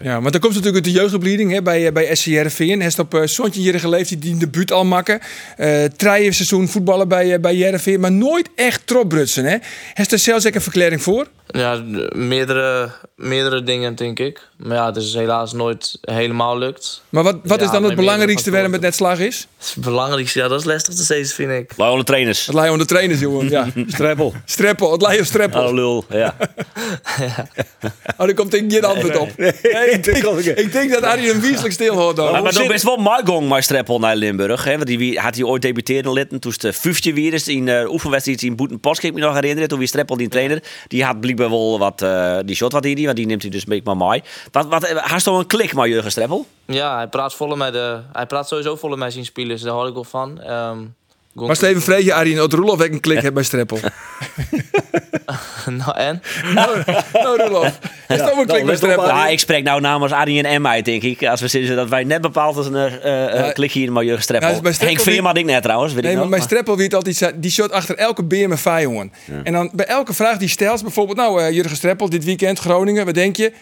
Ja, want dan komt natuurlijk uit de jeugdopleiding hè, bij, eh, bij SCRV. En hij is op uh, Sontje hier geleefd, die- die een debuut al maken. Eh Treien seizoen voetballen bij, eh, bij JRV, maar nooit echt tropbrutsen. Hè. Heeft er zelfs ook een verklaring voor? Ja, d- meerdere, meerdere dingen denk ik. Maar ja, het is helaas nooit helemaal lukt. Maar wat, wat Ja, is dan het mijn belangrijkste waarom meerdere het net slag is? Het is het belangrijkste, ja, dat is lastig te steeds, vind ik. Loyale trainers. Het lijkt onder trainers, jongen. <laughs> Ja. Streppel. Streppel, het lijkt op streppel. Oh, lul. Ja. Oh, daar komt ik geen antwoord op. Nee, <laughs> ik denk ook niet. Ik denk dat Arjen een wieselijk stil hoort. hoor. Maar, maar zit- dan best wel Margong maar Streppel naar Limburg. Hè? Want die wie- had hij ooit debuteerd in Litten. Toen is de vijfde weer is in eh oefenwedstrijd in Boeten Post. kan Ik me nog herinneren. Toen weer Streppel die trainer. Die had blijkbaar wel wat. eh, die shot wat hij die. Want die neemt hij dus een beetje maar mooi. Wat, wat, eh, had je toch een klik maar Jurgen Streppel? Ja, hij praat, volle met, de hij praat sowieso volle met zijn spelers, daar hoor ik wel van. Ehm Gonk- Maar Steven Vreetje, Arjen, dat Roelof ook een klik heeft bij <laughs> Streppel. <laughs> nou, en? Nou, Roelof. Is dat ook een klik bij Streppel? nou, Ja, ik spreek nou namens Arie en Emma, denk ik. Als we zitten dat wij net bepaald als een eh, eh, Ja. klik hier maar Jurgen Streppel. Ja, dus bij Streppel Henk Veerma, denk ik net trouwens. Weet Nee, ik maar nog. bij Streppel wie het altijd zei, die shot achter elke beer met vijf, jongen. En dan bij elke vraag die stelt, bijvoorbeeld, nou eh, Jurgen Streppel, dit weekend Groningen, wat denk je?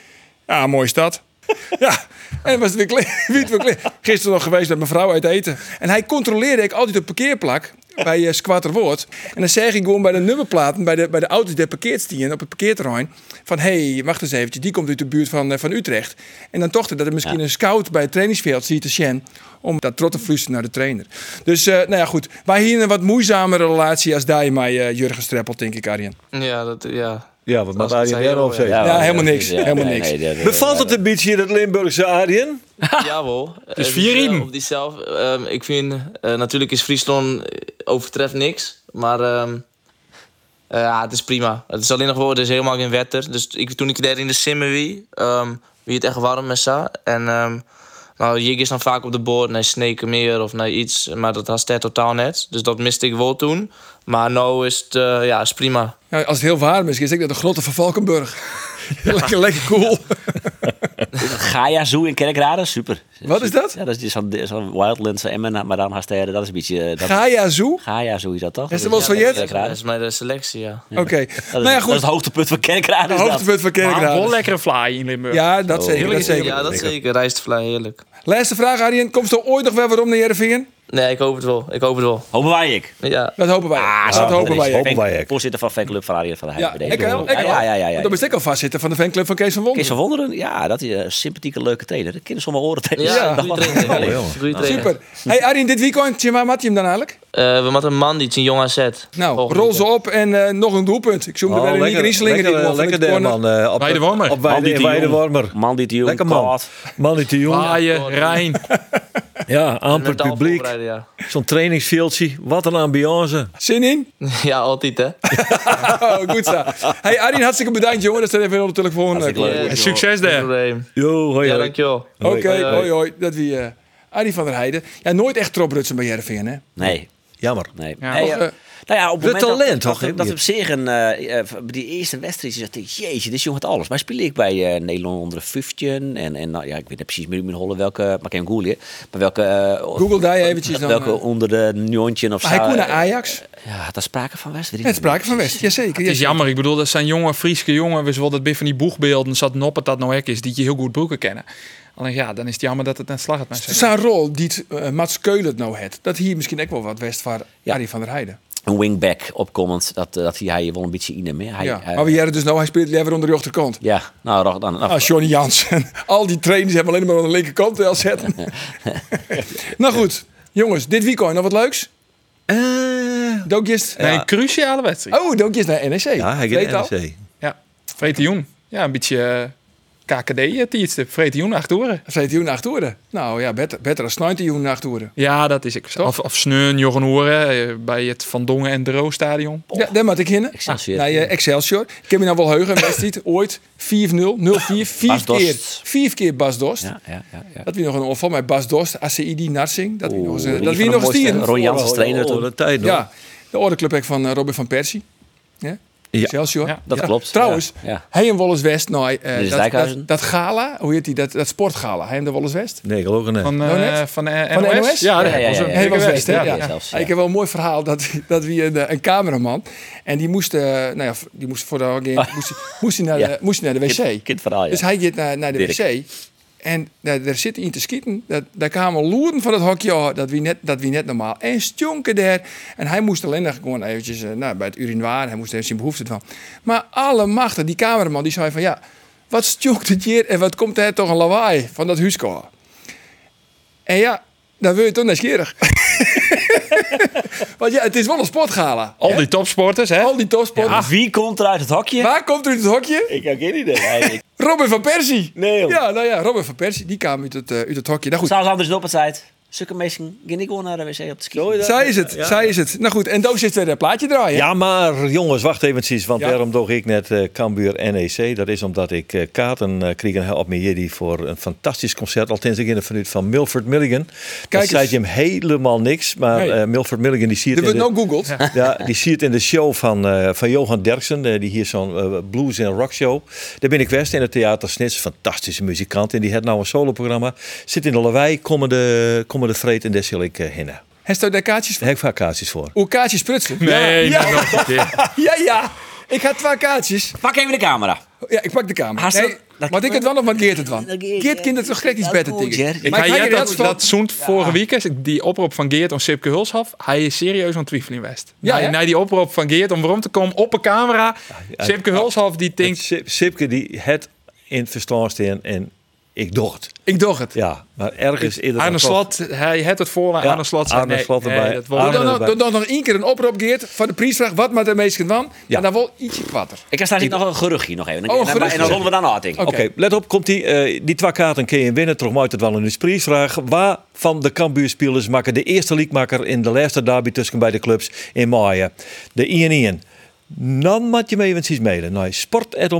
Ja, mooie stad. <laughs> ja, en was het weer klaar. <laughs> Wie het weer klaar. Gisteren nog geweest met mijn vrouw uit eten. En hij controleerde ik altijd op parkeerplak bij eh, Squatterwoord. En dan zeg ik gewoon bij de nummerplaten, bij de, bij de auto's die parkeerd stien op het parkeerterrein, van hé, hey, wacht eens eventjes, die komt uit de buurt van, eh, van Utrecht. En dan tocht ik dat er misschien een scout bij het trainingsveld ziet te Shen om dat trot te fluisteren naar de trainer. Dus eh, nou ja, goed. Wij hier een wat moeizamere relatie als daar met eh, Jurgen Streppel, denk ik, Arjen. Ja, dat, ja. Ja, wat maakt Dat is Arjen daarop heel, zeggen? Ja, maar- helemaal niks. Helemaal nee, niks. nee, dat- Bevalt het een beetje in het Limburgse Arjen? Jawel. is Eh, vier eh, riemen. Op die zelf. ehm, ik vind, eh, natuurlijk is Friesland eh, overtreft niks. Maar ehm, eh, ja, het is prima. Het is alleen nog wel, er is helemaal geen wetter. Dus ik, toen ik daar in de simmen wie, ehm wie het echt warm met sa. En ehm nou, Jig is dan vaak op de boord naar sneken meer of naar iets. Maar dat had hij totaal net. Dus dat miste ik wel toen. Maar nu is het, eh, ja, is prima. Ja, als het heel warm is, is ik dat de grotte van Valkenburg. <laughs> lekker, lekker cool. Gaia Zoo in Kerkrade, super. Wat is dat? Ja, dat is die- zo'n zo'n Wildlands Emmen, maar dan haast dat is een beetje... eh, dat- Gaia Zoo. Gaia Zoo is dat toch? Is er wel Ja, dat Sojet? Dat Kerkrade. is mijn eh, selectie, ja. Oké. Dat Nou is, ja, dat is het goed. hoogtepunt van Kerkrade. is dat. Hoogtepunt van Maar wel Kerkraden. lekkere fly in Limburg. Ja, dat zeker. Dat zeker. Ja, dat zeker. Rijstvlaai, heerlijk. Laatste vraag, Arjen. Komt er ooit nog wel weer om naar Jereveen? Nee, ik hoop het wel. Ik hoop het wel. Hopen wij ik. Ja. Dat hopen wij. Ah, dat hopen wij. Hopen wij ik. Voorzitter van fanclub van Arjen van der Ja, Heijden. ik wel. Ik Ja, ja, ja. ja, ja. Dan ben ik al vastzitten van de fanclub van Kees van Kees Wonder. van Wonderen, ja, dat is eh, een sympathieke, leuke trainer. Dat kinderen zomaar oren tegen. Ja, goede trainer. Oh, Goeie jongen. trainer. Super. Hey Arjen, dit weekend, tja, waar mat je hem dan eigenlijk? Eh, we hadden een man die een jong AZ. Nou, Volgende rol week. ze op en eh, nog een doelpunt. Ik zoom er Oh, wel in Iker Rieslinger in. lekker, man, van lekker dit daar, corner. man. eh, op, Bij de Wormer. Op bij Man die de, te bij de jong. Wormer. Man die te jong, Lekker man. kwaad. Man die te jong. Ah, Waaien, Ah, Rijn. Ja, amper Mentaal publiek. voorbereiden, Ja. Zo'n trainingsveldje. Wat een ambiance. Zin in? ja, altijd hè. <laughs> Oh, goed zo. Hey Arjen, hartstikke bedankt jongen. Dat staat even op de telefoon. eh, leuk. Oké, Ja, Succes geen daar. probleem. Yo, hoi, Ja, hoi. dankjewel. Hoi. hoi hoi. Dat wie... eh, Arjen van der Heijden. Ja, nooit echt tropprutsen bij Jereveen, hè? Nee, Jammer. nee. Ja. Hey, Och, eh, eh, nou ja, op het de moment dat- talent, dat, toch, hè, Dat, dat Piet? op zich een, eh, eh, bij die eerste wedstrijd is dat ik, jeetje, dit jongen het alles. Maar speel ik bij eh, Nederland onder 15 en, en nou, ja, ik weet niet precies meer in mijn hollen welke, maar ik kan googlen, hè. maar welke... eh, Google daar eventjes dan, Welke eh. onder de Njontje of zo. Maar hij kon naar eh, Ajax. Ja, daar sprake van West. Het sprake van West. Jazeker. Het is jazeker. jammer. Ik bedoel, dat zijn jonge Friese jongen. We zullen dat bij van die boegbeelden. Zat Noppet dat nou hek is. Die je heel goed broeken kennen. Alleen ja, dan is het jammer dat het net slag het mensen. Zijn rol die eh, Mats Keul het nou had, dat hier misschien ook wel wat West van Ja. Arjen van der Heijden. Een wingback opkomend, dat, eh, dat hij, hij wel een beetje in hem. hè. Hij, ja. hij- maar we jaren dus nou, hij speelt liever onder de rechterkant. ja, nou, dan, dan, Ah, Johnny Jansen. <laughs> Al die trainers hebben alleen maar aan de linkerkant wel <laughs> zetten. nou goed, jongens, dit weekend nog wat leuks? Eh, Dookjes. Nee, een cruciale wedstrijd. Oh, dookjes naar NEC. Ja, ah, hij Tweetal. gaat NEC. Ja. Vreet de Jong. Ja, een beetje... eh, KKD tietje, vreten joen acht uur. Zet je naar toeren? Nou ja, beter, beter als 90 uur naar toeren. Ja, dat is ik. Toch? Of, of sneun, Jochen Hoeren, eh, bij het Van Dongen en Dro stadion. Ja, daar moet ik hinnen. Ah. Excelsior. Naar eh, Excelsior. Ik heb me nou wel heugen, een wedstrijd ooit 4-0, 0-4, vijf Bas Dost. keer. Vijf keer Bas Dost. Ja, ja, ja. ja. Dat wie nog een onval met Bas Dost, ACID, Narsing. Dat wie nog eens, Oeh, eh, die dat wie van nog eens de mooiste, dieren. Ron Janssens trainer Oh, toen. dat tijd nog. Ja, de ordeclub van eh, Robin van Persie. Ja? Ja. Excelsior. Ja, Dat klopt. Trouwens, Ja, ja. hij en Wolles West, nou, eh, is dat, Dijkhuizen. dat, dat gala, hoe heet die, dat, dat sportgala, hij en de Wolles West. Nee, geloof ik niet. Van, Oh, eh net? van, eh, Van NOS? de NOS? Ja, Ja, dat ja, ja, was ja. een- Hij was West, best, hè? ja. Ja. Ja, zelfs, ja. Ik heb wel een mooi verhaal dat, dat we een, een cameraman en die moest, eh, nou ja, die moest voor de <laughs> hockey- moest, moest hij naar Ja. de moest hij naar de wc. Kind, kindverhaal, ja. Dus hij gaat naar, naar de Dirk. wc en nou, daar, daar zit hij in te schieten. Dat, daar kwamen loeren van het hokje, oh, dat wie net, dat wie net normaal. En stjonken daar. En hij moest alleen nog gewoon eventjes eh, nou, bij het urinoir, hij moest even zijn behoefte van. Maar alle machten, die cameraman, die zei van ja, wat stjonkt het hier en wat komt er toch een lawaai van dat huiskoor. En ja, dan wil je toch nieuwsgierig. <laughs> Want ja, het is wel een sportgala. Al die topsporters, hè? Al die topsporters. Ja, Wie komt er uit het hokje? Waar komt er uit het hokje? Ik heb geen idee. eigenlijk. Robin van Persie. Nee, joh. Ja, nou ja, Robin van Persie, die kwam uit het, eh, uit het hokje. Nou goed, Trouwens, anders op het site. Zulke mensen gaan niet gewoon naar de wc op de ski. Oh, zij is het, zij is het. Nou goed, en Doos heeft weer een plaatje draaien. Ja, maar jongens, wacht eventjes. Want Ja. daarom doe ik net eh Cambuur NEC. Dat is omdat ik eh, kaarten eh, kreeg en op mijn jiddy voor een fantastisch concert. Althans, ik in het minuut van Milford Milligan. eens. dat zei je hem helemaal niks. Maar Nee. eh, Milford Milligan die ziet Er in wordt de, nou googeld. ja, die ziet in de show van, eh, van Johan Derksen. eh, die hier zo'n eh, blues en rock show. Daar ben ik West in het theater Snits. Fantastische muzikant. En die heeft nou een soloprogramma. Zit in de lawaai. Komende, komende vreed en daar zal ik eh hinnen. Heeft hij daar kaartjes voor? Daar heb ik vaak kaartjes voor. Hoe kaartjes prutsen? Nee, ja, nee, nog een keer. <laughs> ja, ja, ja. Ik had twee kaartjes. Pak even de camera. Ja, ik pak de kamer. Haast Nee, dat- dat- want ik het wel nog, want Geert het wel. Dat Geert, Geert ja. kindert toch gek iets Dat beter goed, tegen. Geert. Ik Maar ga ik had je dat dat, van- dat zoent vorige week, die oproep van Geert om Sipke Hulshaf, hij is serieus aan het twijfelen West. Ja, Ja, hè? na die oproep van Geert om waarom te komen op een camera, Sipke Hulshaf die denkt, Sip, Sipke die het in het verstand staan en ik docht. Ik doe het. Ja, maar ergens eerder Arne dan Slot, hij had het voor, Ja, Arne Slot zei, Arne nee, Slot nee, erbij. dat wordt- Arne- Dan, dan, erbij. dan- dan nog één keer een oproep, Geert, van de prijsvraag. Wat maar de meesten van. Ja. En dan wel ietsje kwatter. Ik heb straks nog een geruchtje nog Oh, even. en, dan, en geruchtje. dan rollen we dan uit, denk ik. Oké, let op, komt die, eh, die twee kaarten kun je winnen. Toch moet het wel een prijsvraag. Waar van de Cambuurspelers maken de eerste leakmaker in de laatste derby tussen beide clubs in maaien? De 1-1. Dan moet je me eventjes mailen naar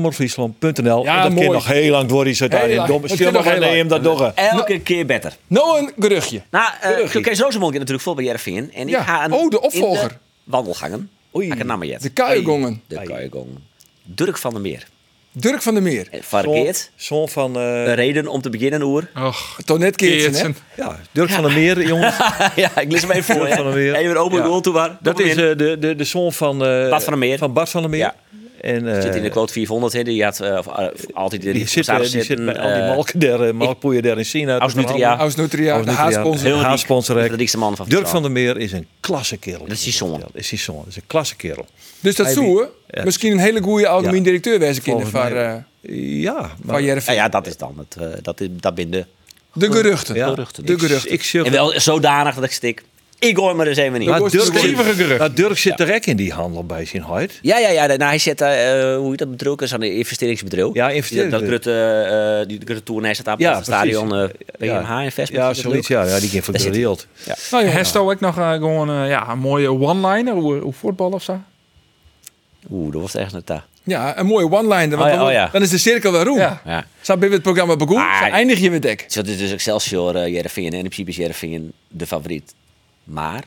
sport.omroepfriesland.nl. Ja, En dat mooi. kan nog heel lang worden. Zo Heel daar in lang. Eh, domme Dat stil kan nog nog heel neem dat doggen. Elke keer beter. Nou een geruchtje. Nou, eh Kees Rosemond gaat natuurlijk voor bij Jervin. En Ja. ik ga een, Oh, de opvolger. in de wandelgangen. Oei. Oei. Ik het naam maar jet. De kuigongen. De Kuijgong. Dirk van der Meer. Dirk van der Meer. Eh, Van Geert. Zoon van eh, Een reden om te beginnen, Oer. Och, Toch net Geertsen, hè? Geertsen. ja, Dirk van der Meer, jongens. ja, ik lees hem even voor. Dirk van der Meer. hè. Even een open Ja. goal toe waar. Dat is eh, de, de, de zoon van, eh, Bart van der Meer. Van Bart van der Meer. Ja. En, eh, Zit in de kloot 400, hè? Die had eh, of, eh, altijd in de die zit, eh, die zitten, zit bij al die eh, malken daar, eh, malkpoeien daar in China. Aus Dat is nog Nutria. allemaal- Aus Nutria, Aus de Nutria. haarsponsor. Heel- Heel Haas riek. sponsor, hè. De riekste man van Dirk van Friesland. der Meer is een klasse kerel. Dat is die zoon. Dat is die zoon. Dat is een klasse kerel. Dus dat zoe. Ja. Misschien een hele goede algemeen Ja. directeur wezen kinderen Volgens van, mij. eh Ja, maar... van Jervin. Ja, ja, dat is dan. Het, eh, dat, is, dat binden. De geruchten. ja, geruchten. ik- De geruchten. Ik zeg... En wel zodanig dat ik stik. Ik hoor me er eens even niet. Maar Koos- Dirk stevige zit, gerucht. maar Dirk zit er ook in die handel bij zijn huid. Ja, ja, ja. Nou, hij zet, eh eh, hoe heet dat bedrijf? is aan een investeringsbedrijf. Ja, Dat, dat investeerder. grote, eh, die grote tour, hij staat op Ja, het stadion eh precies. PMH in Vesper. Ja, zoiets. Ja, ja, die ging voor Daar de zit wereld. Nou, jongen. Hesto ik nog eh, gewoon eh, ja, een mooie one-liner, hoe, hoe voetbal of zo. Oeh, dat was echt net eh. daar. Ja, een mooie one-liner. want Oh ja, dan- oh ja. Dan is de cirkel wel roem. Ja. Ja. Zou bij het programma begonnen? Ah, Zo eindig je met dek. Dus dat is dus Excelsior, eh Jereveen. En in principe is Jereveen de favoriet. Maar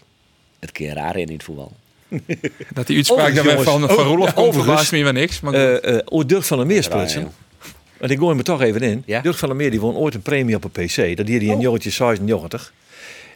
het keer raar in het voetbal. Dat die uitspraak Overigens, dan weer van, jongens. van Oh, Roelof ja, komt, overigens. verbaast me weer niks. Maar goed. Eh eh, oh, Dirk van der Meer splitsen. joh. Want ik gooi me toch even in. Ja? Dirk van der Meer die won ooit een premie op een PC. Dat deed hij in jongetje 96.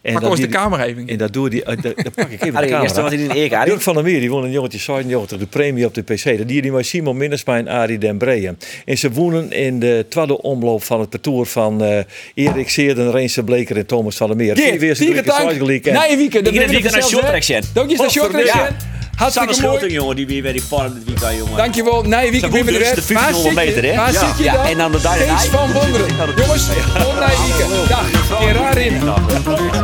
En pak dat ons de deed hij- camera even. En dat doe die. eh, dat- dat pak ik even de Arie, gisteren was camera. hij in E <laughs> Eka. Arie. Dirk van der Meer die won een jongetje 96 de premie op de PC. Dat dier die maar Simon Minnesma en Arie Den Breeën. En ze wonen in de tweede omloop van het parcours van eh, Erik Seerden, Reense Bleker en Thomas van der Meer. Geert, Tierentank. Na je weekend. Ik Dan denk ben dat je ik naar vanzelf, hè? Shortrek zit. Dank je, naar Och, Shortrek. ja. zit. Hartstikke Sanne mooi. Schulting, jongen, die weer bij die farm dit weekend, jongen. Dankjewel. Na je weekend Ze weer met de weg. moeten dus de 15 zit kilometer, je- hè? Waar Ja. zit je Ja, dan? en dan de dag Kees erna. van Wonderen. Jongens, tot na je weekend. Dag. Keer haar in. Ja.